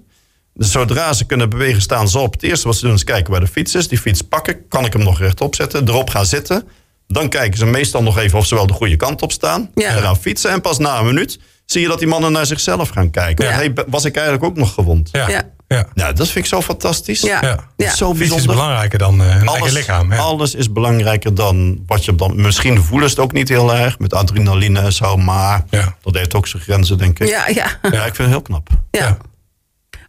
Speaker 3: Dus zodra ze kunnen bewegen, staan ze op. Het eerste wat ze doen is kijken waar de fiets is. Die fiets pakken. Kan ik hem nog rechtop zetten? Erop gaan zitten. Dan kijken ze meestal nog even of ze wel de goede kant op staan.
Speaker 4: Ja.
Speaker 3: Eraan fietsen. En pas na een minuut zie je dat die mannen naar zichzelf gaan kijken.
Speaker 4: Ja.
Speaker 3: Hey, was ik eigenlijk ook nog gewond?
Speaker 2: Ja.
Speaker 4: Ja.
Speaker 2: ja.
Speaker 3: Nou, dat vind ik zo fantastisch.
Speaker 4: Ja.
Speaker 2: ja.
Speaker 4: Ja.
Speaker 3: Zo
Speaker 2: Fiets is
Speaker 3: bijzonder.
Speaker 2: belangrijker dan eh een eigen lichaam. Ja.
Speaker 3: alles is belangrijker dan wat je op dan. Misschien voelen ze het ook niet heel erg met adrenaline en zo, maar
Speaker 2: Ja.
Speaker 3: dat heeft ook zijn grenzen, denk ik.
Speaker 4: Ja, ja,
Speaker 3: Ja, ik vind het heel knap.
Speaker 4: ja.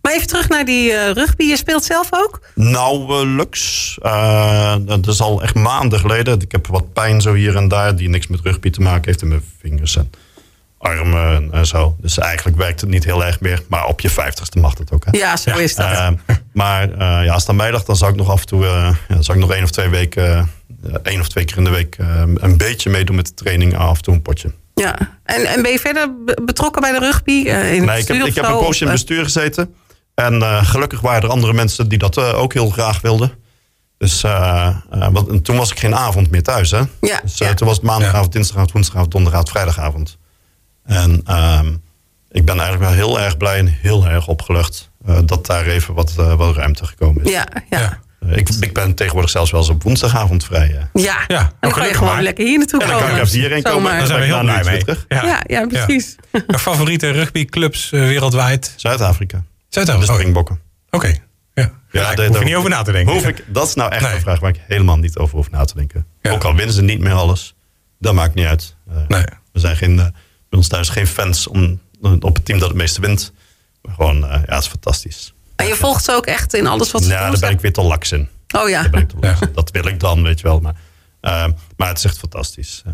Speaker 4: Maar even terug naar die eh, rugby. Je speelt zelf ook?
Speaker 3: Nauwelijks. Eh dat is al echt maanden geleden. Ik heb wat pijn zo hier en daar, die niks met rugby te maken heeft in mijn vingers en armen en, en zo. Dus eigenlijk werkt het niet heel erg meer, maar op je vijftigste mag dat ook. Hè?
Speaker 4: Ja, zo is dat.
Speaker 3: Ehm, maar eh, ja, als het aan mij lag, dan zou ik nog af en toe, eh, ja, zou ik nog één of twee weken, eh, één of twee keer in de week eh, een beetje meedoen met de training, af en toe een potje.
Speaker 4: ja. en, en ben je verder be- betrokken bij de rugby? eh, in
Speaker 3: Nee, ik heb, ik heb een poosje in het
Speaker 4: bestuur.
Speaker 3: bestuur gezeten. En eh, gelukkig waren er andere mensen die dat eh, ook heel graag wilden. Dus eh, eh, want, en toen was ik geen avond meer thuis. Hè?
Speaker 4: Ja,
Speaker 3: dus eh,
Speaker 4: ja.
Speaker 3: toen was het maandagavond, dinsdagavond, woensdagavond, donderdagavond, vrijdagavond. En ehm, ik ben eigenlijk wel heel erg blij en heel erg opgelucht eh, dat daar even wat, eh, wat ruimte gekomen is.
Speaker 4: Ja, ja.
Speaker 2: Ja.
Speaker 4: ja.
Speaker 3: Eh, ik, ik ben tegenwoordig zelfs wel eens op woensdagavond vrij. eh.
Speaker 4: Ja,
Speaker 2: nou,
Speaker 4: en dan kan je
Speaker 2: gelukkig
Speaker 4: gewoon
Speaker 2: maar.
Speaker 4: lekker hier naartoe
Speaker 3: En dan
Speaker 4: komen.
Speaker 3: kan ik even hierheen komen.
Speaker 4: Zomaar.
Speaker 2: Daar zijn we
Speaker 3: ben
Speaker 2: heel
Speaker 3: ik na een
Speaker 2: blij mee.
Speaker 3: uurtje weer terug.
Speaker 4: Ja, ja, precies.
Speaker 2: Ja. Favoriete rugbyclubs eh, wereldwijd?
Speaker 3: Zuid-Afrika. De
Speaker 2: Zuid-Afrika. Oké.
Speaker 3: springbokken.
Speaker 2: Ja.
Speaker 3: Ja,
Speaker 2: Daar
Speaker 3: dat-
Speaker 2: hoef je
Speaker 3: dat-
Speaker 2: niet over na te denken.
Speaker 3: Hoef ik, dat is nou echt
Speaker 2: Nee.
Speaker 3: een vraag waar ik helemaal niet over hoef na te denken.
Speaker 2: Ja.
Speaker 3: Ook al winnen ze niet meer alles. Dat maakt niet uit. Eh,
Speaker 2: Nee.
Speaker 3: We zijn geen, eh, bij ons thuis geen fans om, op het team dat het meeste wint. Maar gewoon, eh, ja, het is fantastisch.
Speaker 4: En je volgt ze ook echt in alles wat ze
Speaker 3: Ja,
Speaker 4: doen?
Speaker 3: daar ben ik weer te laks in.
Speaker 4: Oh ja.
Speaker 3: Daar ben ik te laks
Speaker 2: Ja.
Speaker 3: in. Dat wil ik dan, weet je wel. Maar, eh, maar het is echt fantastisch. Eh,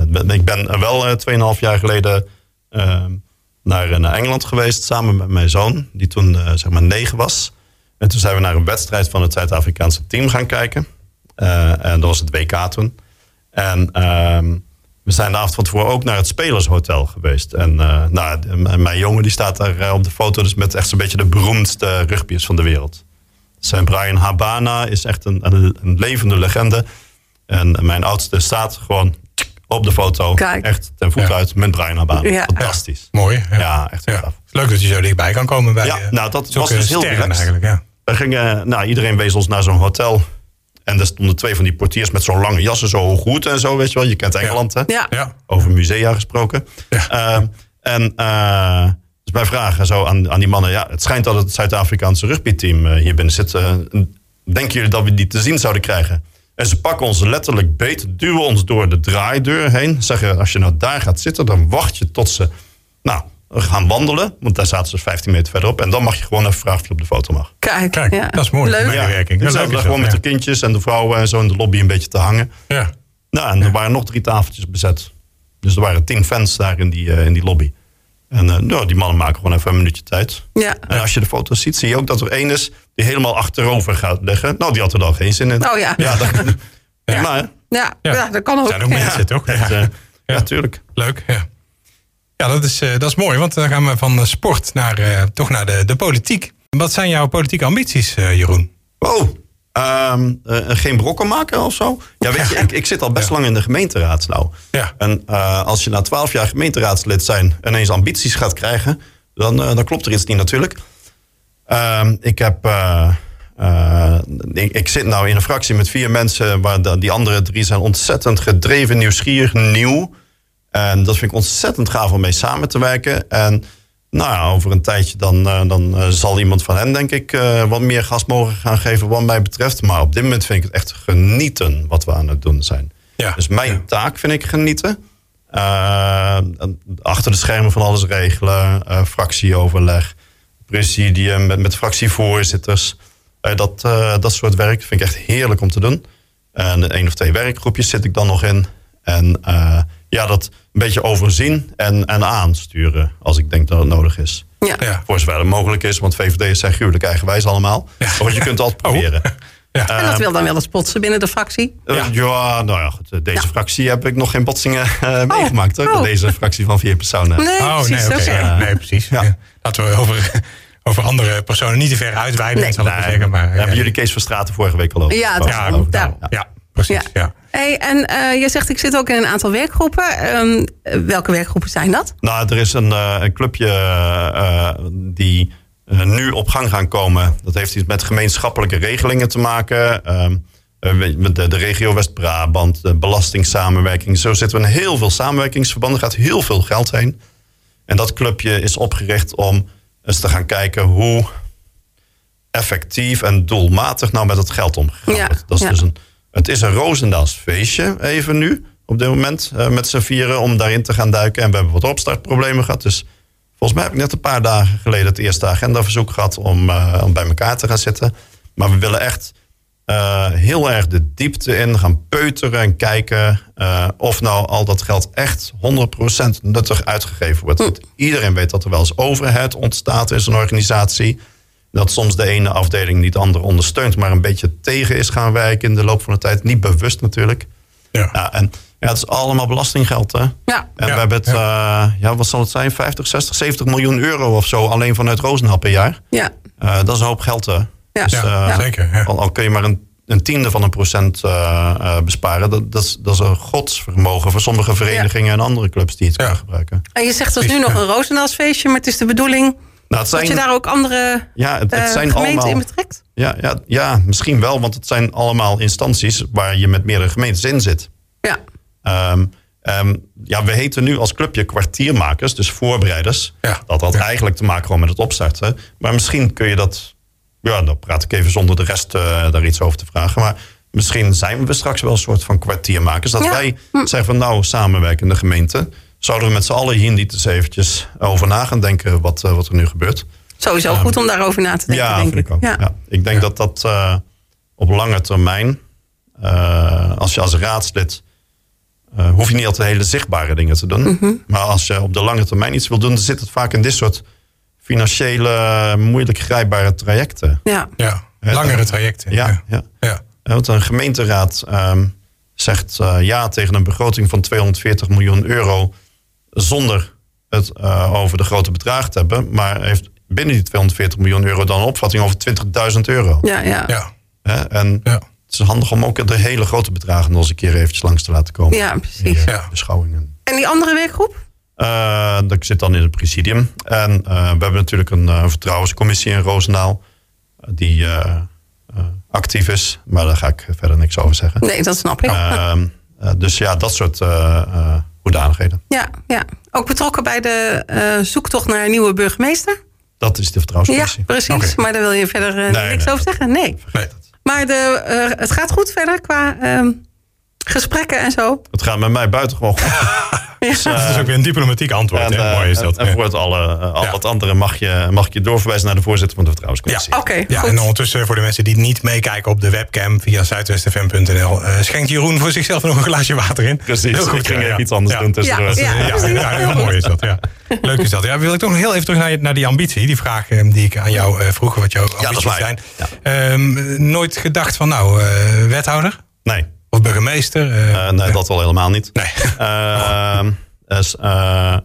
Speaker 3: het ben- ik ben wel eh 2,5 jaar geleden eh, naar, eh, naar Engeland geweest samen met mijn zoon, die toen eh, zeg maar 9 was. En toen zijn we naar een wedstrijd van het Zuid-Afrikaanse team gaan kijken. Eh, en dat was het WK toen. En ehm, we zijn de avond van tevoren ook naar het Spelershotel geweest. En eh, nou, de- m- mijn jongen die staat daar eh, op de foto dus met echt zo'n beetje de beroemdste rugbyers van de wereld. Zijn Brian Habana is echt een, een, een levende legende. En mijn oudste staat gewoon tsk, op de foto.
Speaker 4: Kijk.
Speaker 3: Echt ten voet
Speaker 2: Ja.
Speaker 3: uit met Brian Habana.
Speaker 4: Ja.
Speaker 3: Fantastisch.
Speaker 2: Mooi.
Speaker 3: Ja, echt heel
Speaker 2: Ja.
Speaker 3: gaaf.
Speaker 2: Leuk dat je zo dichtbij kan komen bij
Speaker 3: Ja,
Speaker 2: eh,
Speaker 3: nou, dat
Speaker 2: zulke
Speaker 3: was dus heel
Speaker 2: sterren
Speaker 3: relaxed.
Speaker 2: eigenlijk. Ja.
Speaker 3: We gingen, nou, iedereen wees ons naar zo'n hotel. En daar stonden twee van die portiers met zo'n lange jassen, zo hoog hoed en zo, weet je wel. Je kent Engeland, hè?
Speaker 4: Ja.
Speaker 2: Ja.
Speaker 3: Over musea gesproken. Ehm, en eh, dus wij vragen zo aan, aan die mannen... Ja, het schijnt dat het Zuid-Afrikaanse rugbyteam eh, hier binnen zit. Eh, denken jullie dat we die te zien zouden krijgen? En ze pakken ons letterlijk beet, duwen ons door de draaideur heen. Zeggen, als je nou daar gaat zitten, dan wacht je tot ze... Nou, gaan wandelen, want daar zaten ze 15 meter verderop. En dan mag je gewoon even vragen of je op de foto mag.
Speaker 4: Kijk,
Speaker 2: Kijk,
Speaker 4: ja.
Speaker 2: dat is mooi.
Speaker 4: Leuk.
Speaker 2: Ja. medewerking.
Speaker 3: Ja,
Speaker 2: Ja,
Speaker 3: dus
Speaker 2: leuk is
Speaker 3: we
Speaker 2: dat,
Speaker 3: gewoon met
Speaker 2: ja.
Speaker 3: de kindjes en de vrouwen en zo in de lobby een beetje te hangen.
Speaker 2: Ja.
Speaker 3: Nou, en er waren nog drie tafeltjes bezet. Dus er waren tien fans daar in die, eh, in die lobby. En eh, nou, die mannen maken gewoon even een minuutje tijd.
Speaker 4: Ja.
Speaker 3: En als je de foto's ziet, zie je ook dat er één is die helemaal achterover gaat leggen. Nou, die had er dan geen zin in.
Speaker 4: Oh ja.
Speaker 3: Ja, dat,
Speaker 2: Ja.
Speaker 3: Maar, hè?
Speaker 4: <laughs> Ja.
Speaker 2: Ja.
Speaker 4: ja, dat kan ook.
Speaker 2: Zijn ook
Speaker 4: Ja.
Speaker 2: mensen toch?
Speaker 3: Echt, eh,
Speaker 2: Ja.
Speaker 3: ja, tuurlijk.
Speaker 2: Leuk, ja. Ja, dat is, eh, dat is mooi, want dan gaan we van eh, sport naar, eh, toch naar de, de politiek. Wat zijn jouw politieke ambities, eh, Jeroen?
Speaker 3: Wow. Oh, Ehm, eh, geen brokken maken of zo? Ja, weet je, ik, ik zit al best lang in de gemeenteraad nou.
Speaker 2: Ja.
Speaker 3: En eh, als je na twaalf jaar gemeenteraadslid zijn... ineens ambities gaat krijgen, dan, eh, dan klopt er iets niet natuurlijk. Ehm, ik heb... eh, eh, ik, ik zit nou in een fractie met vier mensen... waar de- die andere drie zijn ontzettend gedreven, nieuwsgierig, nieuw. En dat vind ik ontzettend gaaf om mee samen te werken. En nou ja, over een tijdje dan, eh, dan eh, zal iemand van hen, denk ik, eh, wat meer gas mogen gaan geven, wat mij betreft. Maar op dit moment vind ik het echt genieten wat we aan het doen zijn.
Speaker 2: Ja.
Speaker 3: Dus mijn taak vind ik genieten. Eh, achter de schermen van alles regelen, eh, fractieoverleg, presidium met, met fractievoorzitters. Eh, dat, eh, dat soort werk vind ik echt heerlijk om te doen. En één of twee werkgroepjes zit ik dan nog in. En eh, ja, dat een beetje overzien en, en aansturen als ik denk dat het nodig is.
Speaker 4: Ja.
Speaker 2: Ja.
Speaker 3: Voor zover het mogelijk is, want VVD'ers zijn gruwelijk eigenwijs allemaal. Want je kunt het altijd
Speaker 2: Oh.
Speaker 3: proberen.
Speaker 2: Ja.
Speaker 4: En dat wil dan wel eens botsen binnen de fractie.
Speaker 3: Eh,
Speaker 2: Ja.
Speaker 3: Ja. nou ja, goed. Deze
Speaker 4: Ja.
Speaker 3: fractie heb ik nog geen botsingen eh, meegemaakt. Hoor.
Speaker 4: Oh.
Speaker 3: Deze fractie van vier personen.
Speaker 4: Nee, precies.
Speaker 2: Oh, nee,
Speaker 4: oké.
Speaker 2: oké. nee, precies.
Speaker 3: Ja.
Speaker 2: Ja. Laten we over, <laughs> over andere personen niet te ver uitweiden,
Speaker 4: Nee.
Speaker 2: zal ik maar zeggen. Maar, eh,
Speaker 3: Nou, hebben jullie Kees van Straten vorige week al over
Speaker 4: Ja,
Speaker 3: gesproken?
Speaker 2: ja,
Speaker 3: Over-
Speaker 4: daar.
Speaker 3: ja.
Speaker 2: Ja, precies. Ja.
Speaker 4: Hey, en eh, je zegt, ik zit ook in een aantal werkgroepen. Ehm, eh, welke werkgroepen zijn dat?
Speaker 3: Nou, er is een, eh, een clubje eh, eh, die eh, nu op gang gaan komen. Dat heeft iets met gemeenschappelijke regelingen te maken. Ehm, eh, weet je, met de, de regio West-Brabant, de belastingssamenwerking. Zo zitten we in heel veel samenwerkingsverbanden. Er gaat heel veel geld heen. En dat clubje is opgericht om eens te gaan kijken hoe effectief en doelmatig nou met het geld omgegaan
Speaker 4: Ja,
Speaker 3: wordt. Dat is
Speaker 4: ja.
Speaker 3: dus een, het is een Roosendaals feestje even nu, op dit moment, eh, met z'n vieren om daarin te gaan duiken. En we hebben wat opstartproblemen gehad. Dus volgens mij heb ik net een paar dagen geleden het eerste agendaverzoek gehad om, eh, om bij elkaar te gaan zitten. Maar we willen echt eh, heel erg de diepte in gaan peuteren en kijken eh, of nou al dat geld echt 100% nuttig uitgegeven wordt.
Speaker 4: Hm.
Speaker 3: Want iedereen weet dat er wel eens overheid ontstaat in zo'n organisatie. Dat soms de ene afdeling niet de andere ondersteunt, maar een beetje tegen is gaan werken in de loop van de tijd. Niet bewust natuurlijk.
Speaker 2: Ja.
Speaker 3: Ja, en ja, het is allemaal belastinggeld, hè?
Speaker 4: Ja.
Speaker 3: En
Speaker 2: Ja,
Speaker 3: we hebben het, eh, ja, wat zal het zijn? 50, 60, 70 miljoen euro of zo alleen vanuit Rozenhap per jaar.
Speaker 4: Ja.
Speaker 3: Eh, dat is een hoop geld, hè?
Speaker 4: Ja.
Speaker 3: Dus, eh,
Speaker 2: Ja, zeker, ja.
Speaker 3: Al, al kun je maar een, een tiende van een procent eh, eh, besparen. Dat, dat, is, dat is een godsvermogen voor sommige verenigingen en andere clubs die het
Speaker 2: Ja.
Speaker 3: kunnen gebruiken.
Speaker 4: En je zegt, dat is nu nog een Roosendaalsfeestje, maar het is de bedoeling
Speaker 3: Nou, het
Speaker 4: dat je daar ook andere
Speaker 3: ja, het, het
Speaker 4: eh,
Speaker 3: zijn
Speaker 4: gemeenten
Speaker 3: allemaal,
Speaker 4: in betrekt?
Speaker 3: Ja, ja, ja, misschien wel, want het zijn allemaal instanties waar je met meerdere gemeentes in zit.
Speaker 4: Ja.
Speaker 3: Ehm, ehm, ja, we heten nu als clubje kwartiermakers, dus voorbereiders.
Speaker 2: Ja.
Speaker 3: Dat had
Speaker 2: Ja.
Speaker 3: eigenlijk te maken gewoon met het opstarten. Maar misschien kun je dat... Ja, dan praat ik even zonder de rest eh, daar iets over te vragen. Maar misschien zijn we straks wel een soort van kwartiermakers. Dat
Speaker 4: Ja.
Speaker 3: wij zeggen van nou, samenwerkende gemeente... zouden we met z'n allen hier niet eens eventjes over na gaan denken... wat, eh, wat er nu gebeurt.
Speaker 4: Sowieso goed om daarover na te denken,
Speaker 3: Ja,
Speaker 4: denk
Speaker 3: vind ik ook. Ja. Ik denk dat dat eh, op lange termijn, eh, als je als raadslid, eh, hoef je niet altijd hele zichtbare dingen te doen. Maar als je op de lange termijn iets wil doen, dan zit het vaak in dit soort financiële, eh, moeilijk grijpbare trajecten.
Speaker 4: Ja.
Speaker 2: Ja. Langere trajecten.
Speaker 3: Ja, ja.
Speaker 2: ja.
Speaker 3: Eh, Want een gemeenteraad ehm, zegt eh, ja tegen een begroting van 240 miljoen euro zonder het eh, over de grote bedragen te hebben, maar heeft binnen die 240 miljoen euro dan een opvatting over 20.000 euro.
Speaker 4: Ja, ja. ja.
Speaker 2: Ja.
Speaker 3: Hè? En
Speaker 2: Ja.
Speaker 3: het is handig om ook de hele grote bedragen nog eens een keer eventjes langs te laten komen.
Speaker 4: precies.
Speaker 3: Eh,
Speaker 2: Ja.
Speaker 3: Beschouwingen.
Speaker 4: En die andere werkgroep?
Speaker 3: Eh, dat zit dan in het presidium. En eh, we hebben natuurlijk een eh, vertrouwenscommissie in Roosendaal. eh, Die eh, eh, actief is. Maar daar ga ik verder niks over zeggen.
Speaker 4: Nee, dat snap ik.
Speaker 3: Ehm, eh, dus ja, dat soort eh, eh, hoedanigheden.
Speaker 4: Ja, ja. Ook betrokken bij de eh, zoektocht naar een nieuwe burgemeester?
Speaker 3: Dat is de
Speaker 4: Ja,
Speaker 3: vertrouwenscommissie.
Speaker 4: precies.
Speaker 2: Oké.
Speaker 4: Maar daar wil je verder eh,
Speaker 3: Nee,
Speaker 4: niks
Speaker 3: nee.
Speaker 4: over zeggen? Nee.
Speaker 2: Nee.
Speaker 4: Maar de, eh, het gaat goed verder qua ehm, gesprekken en zo.
Speaker 3: Het gaat met mij buitengewoon goed.
Speaker 2: Dat is ook weer een diplomatiek antwoord.
Speaker 3: En,
Speaker 2: hè?
Speaker 3: eh,
Speaker 2: Mooi is
Speaker 3: en-
Speaker 2: dat.
Speaker 3: en
Speaker 2: ja.
Speaker 3: voor het alle, eh, al
Speaker 2: Ja.
Speaker 3: wat andere mag je, mag ik je doorverwijzen naar de voorzitter van de vertrouwenscommissie.
Speaker 4: Oké,
Speaker 2: Ja,
Speaker 4: goed.
Speaker 2: en ondertussen voor de mensen die niet meekijken op de webcam via zuidwestfm.nl, eh, schenkt Jeroen voor zichzelf nog een glaasje water in.
Speaker 3: Precies,
Speaker 2: Heel goed,
Speaker 3: ik ging
Speaker 2: ja,
Speaker 3: even
Speaker 2: ja.
Speaker 3: iets anders
Speaker 2: Ja.
Speaker 3: doen tussendoor.
Speaker 4: Ja,
Speaker 2: Ja, ja,
Speaker 4: precies. Heel
Speaker 2: heel mooi is dat. Ja. Leuk is dat. Ja, wil ik toch nog heel even terug naar, je- naar die ambitie. Die vraag eh, die ik aan jou eh, vroeg, wat jouw
Speaker 3: dat
Speaker 2: ambities
Speaker 3: is
Speaker 2: zijn.
Speaker 3: waar.
Speaker 2: Ehm, nooit gedacht van, nou, eh, wethouder
Speaker 3: Nee,
Speaker 2: of burgemeester? eh,
Speaker 3: eh, nee, dat wel helemaal niet.
Speaker 2: nee.
Speaker 3: Ehm, dus, eh,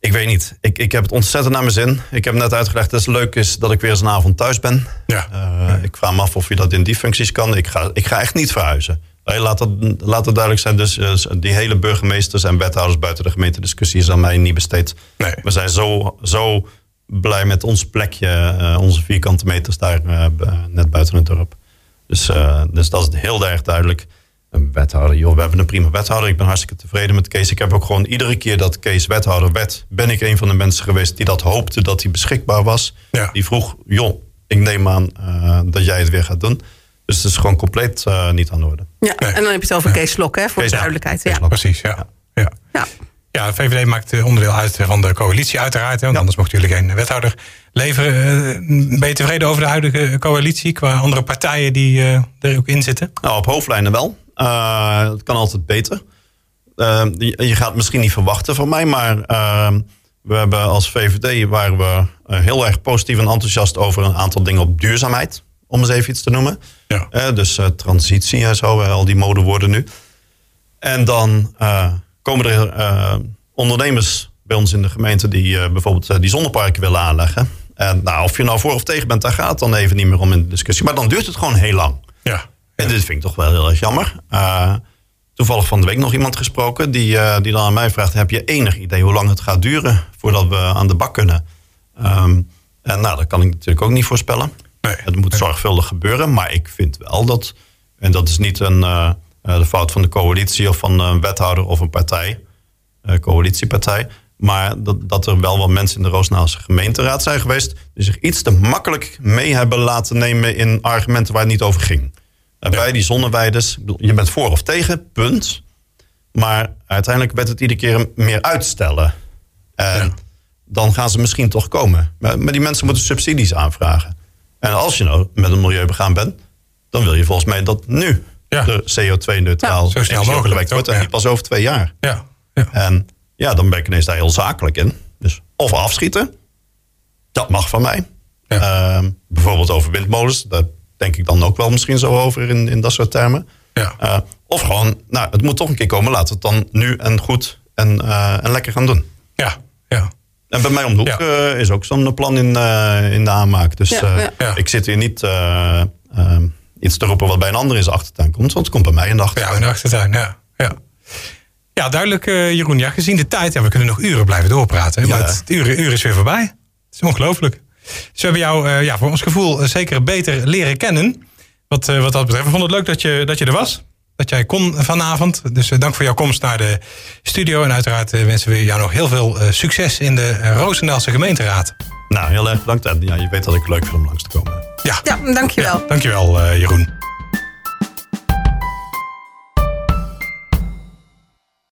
Speaker 3: Ik weet niet. Ik, ik heb het ontzettend naar mijn zin. Ik heb net uitgelegd dat het leuk is dat ik weer eens een avond thuis ben.
Speaker 2: Ja.
Speaker 3: Eh, Ik vraag me af of je dat in die functies kan. Ik ga, ik ga echt niet verhuizen. Hey, laat, dat, laat dat duidelijk zijn. Dus eh, die hele burgemeesters en wethouders buiten de gemeente discussie is aan mij niet besteed.
Speaker 2: Nee.
Speaker 3: We zijn zo, zo blij met ons plekje, eh, onze vierkante meters daar eh, b- eh, net buiten het dorp. Dus, eh, dus dat is heel erg duidelijk. Een wethouder, joh, we hebben een prima wethouder. Ik ben hartstikke tevreden met Kees. Ik heb ook gewoon iedere keer dat Kees wethouder werd, ben ik een van de mensen geweest die dat hoopte dat hij beschikbaar was.
Speaker 2: Ja.
Speaker 3: Die vroeg, joh, ik neem aan eh, dat jij het weer gaat doen. Dus het is gewoon compleet eh, niet aan de orde.
Speaker 4: Ja,
Speaker 2: Nee.
Speaker 4: en dan heb je het over Kees Lok, hè, voor
Speaker 3: Kees
Speaker 4: de
Speaker 3: Lok.
Speaker 4: duidelijkheid.
Speaker 3: Kees
Speaker 4: Ja.
Speaker 3: Lok.
Speaker 2: Precies, ja. ja.
Speaker 4: Ja.
Speaker 2: Ja, de VVD maakt eh, onderdeel uit eh, van de coalitie uiteraard. Hè, want
Speaker 3: Ja.
Speaker 2: anders mochten jullie geen wethouder leveren. Eh, Ben je tevreden over de huidige eh, coalitie qua andere partijen die eh, er ook in zitten?
Speaker 3: Nou, op hoofdlijnen wel. Eh, het kan altijd beter. Eh, je, je gaat het misschien niet verwachten van mij, maar eh, we hebben als VVD waren we eh, heel erg positief en enthousiast over een aantal dingen op duurzaamheid, om eens even iets te noemen.
Speaker 2: Ja.
Speaker 3: Eh, dus eh, transitie en zo, eh, al die modewoorden nu. En dan eh, komen er eh, ondernemers bij ons in de gemeente die eh, bijvoorbeeld eh, die zonneparken willen aanleggen. En nou, of je nou voor of tegen bent, daar gaat het dan even niet meer om in de discussie. Maar dan duurt het gewoon heel lang.
Speaker 2: Ja.
Speaker 3: En dit vind ik toch wel heel erg jammer. Eh, toevallig van de week nog iemand gesproken die, eh, die dan aan mij vraagt: heb je enig idee hoe lang het gaat duren voordat we aan de bak kunnen? Ehm, en nou, dat kan ik natuurlijk ook niet voorspellen.
Speaker 2: Nee.
Speaker 3: Het moet zorgvuldig gebeuren, maar ik vind wel dat, en dat is niet een, eh, eh, de fout van de coalitie of van een wethouder of een partij, eh, coalitiepartij, maar dat, dat er wel wat mensen in de Roosnaalse gemeenteraad zijn geweest die zich iets te makkelijk mee hebben laten nemen in argumenten waar het niet over ging. En Bij die zonneweiders, ik bedoel, je bent voor of tegen, punt. Maar uiteindelijk werd het iedere keer meer uitstellen. En dan gaan ze misschien toch komen. Maar, maar die mensen moeten subsidies aanvragen. En als je nou met een milieu begaan bent, dan wil je volgens mij dat nu
Speaker 2: Ja.
Speaker 3: de CO2-neutraal
Speaker 4: Ja,
Speaker 2: zo snel mogelijk,
Speaker 3: wordt.
Speaker 2: toch?
Speaker 3: En
Speaker 2: Ja.
Speaker 3: niet pas over twee jaar.
Speaker 2: Ja. ja.
Speaker 3: En ja, dan ben ik ineens daar heel zakelijk in. Dus of afschieten, dat mag van mij.
Speaker 2: Ja.
Speaker 3: Ehm, bijvoorbeeld over windmolens, daar denk ik dan ook wel misschien zo over in, in dat soort termen.
Speaker 2: Ja.
Speaker 3: Eh, of gewoon, nou, het moet toch een keer komen, laten we het dan nu en goed en, eh, en lekker gaan doen.
Speaker 2: ja. ja.
Speaker 3: En bij mij om de hoek
Speaker 2: Ja.
Speaker 3: eh, is ook zo'n plan in, eh, in de aanmaak. Dus
Speaker 4: Ja,
Speaker 3: eh,
Speaker 4: ja.
Speaker 2: Ja.
Speaker 3: ik zit hier niet eh, eh, iets te roepen wat bij een ander in zijn achtertuin komt. Want het komt bij mij in de
Speaker 2: Ja,
Speaker 3: achtertuin.
Speaker 2: in de achtertuin, ja. ja. Ja, duidelijk, eh, Jeroen. Ja, gezien de tijd, ja, we kunnen nog uren blijven doorpraten. hè,
Speaker 3: Ja.
Speaker 2: Maar het uur, uur is weer voorbij. Het is ongelooflijk. Dus we hebben jou, eh, ja, voor ons gevoel, eh, zeker beter leren kennen. Wat, eh, wat dat betreft. We vonden het leuk dat je, dat je er was. Dat jij kon vanavond. Dus eh, dank voor jouw komst naar de studio. En uiteraard eh, wensen we jou nog heel veel eh, succes in de eh, Roosendaalse gemeenteraad.
Speaker 3: Nou, heel erg bedankt. En ja, je weet dat ik het leuk vind om langs te komen.
Speaker 2: Ja,
Speaker 4: ja, dankjewel.
Speaker 2: dankjewel, eh, Jeroen.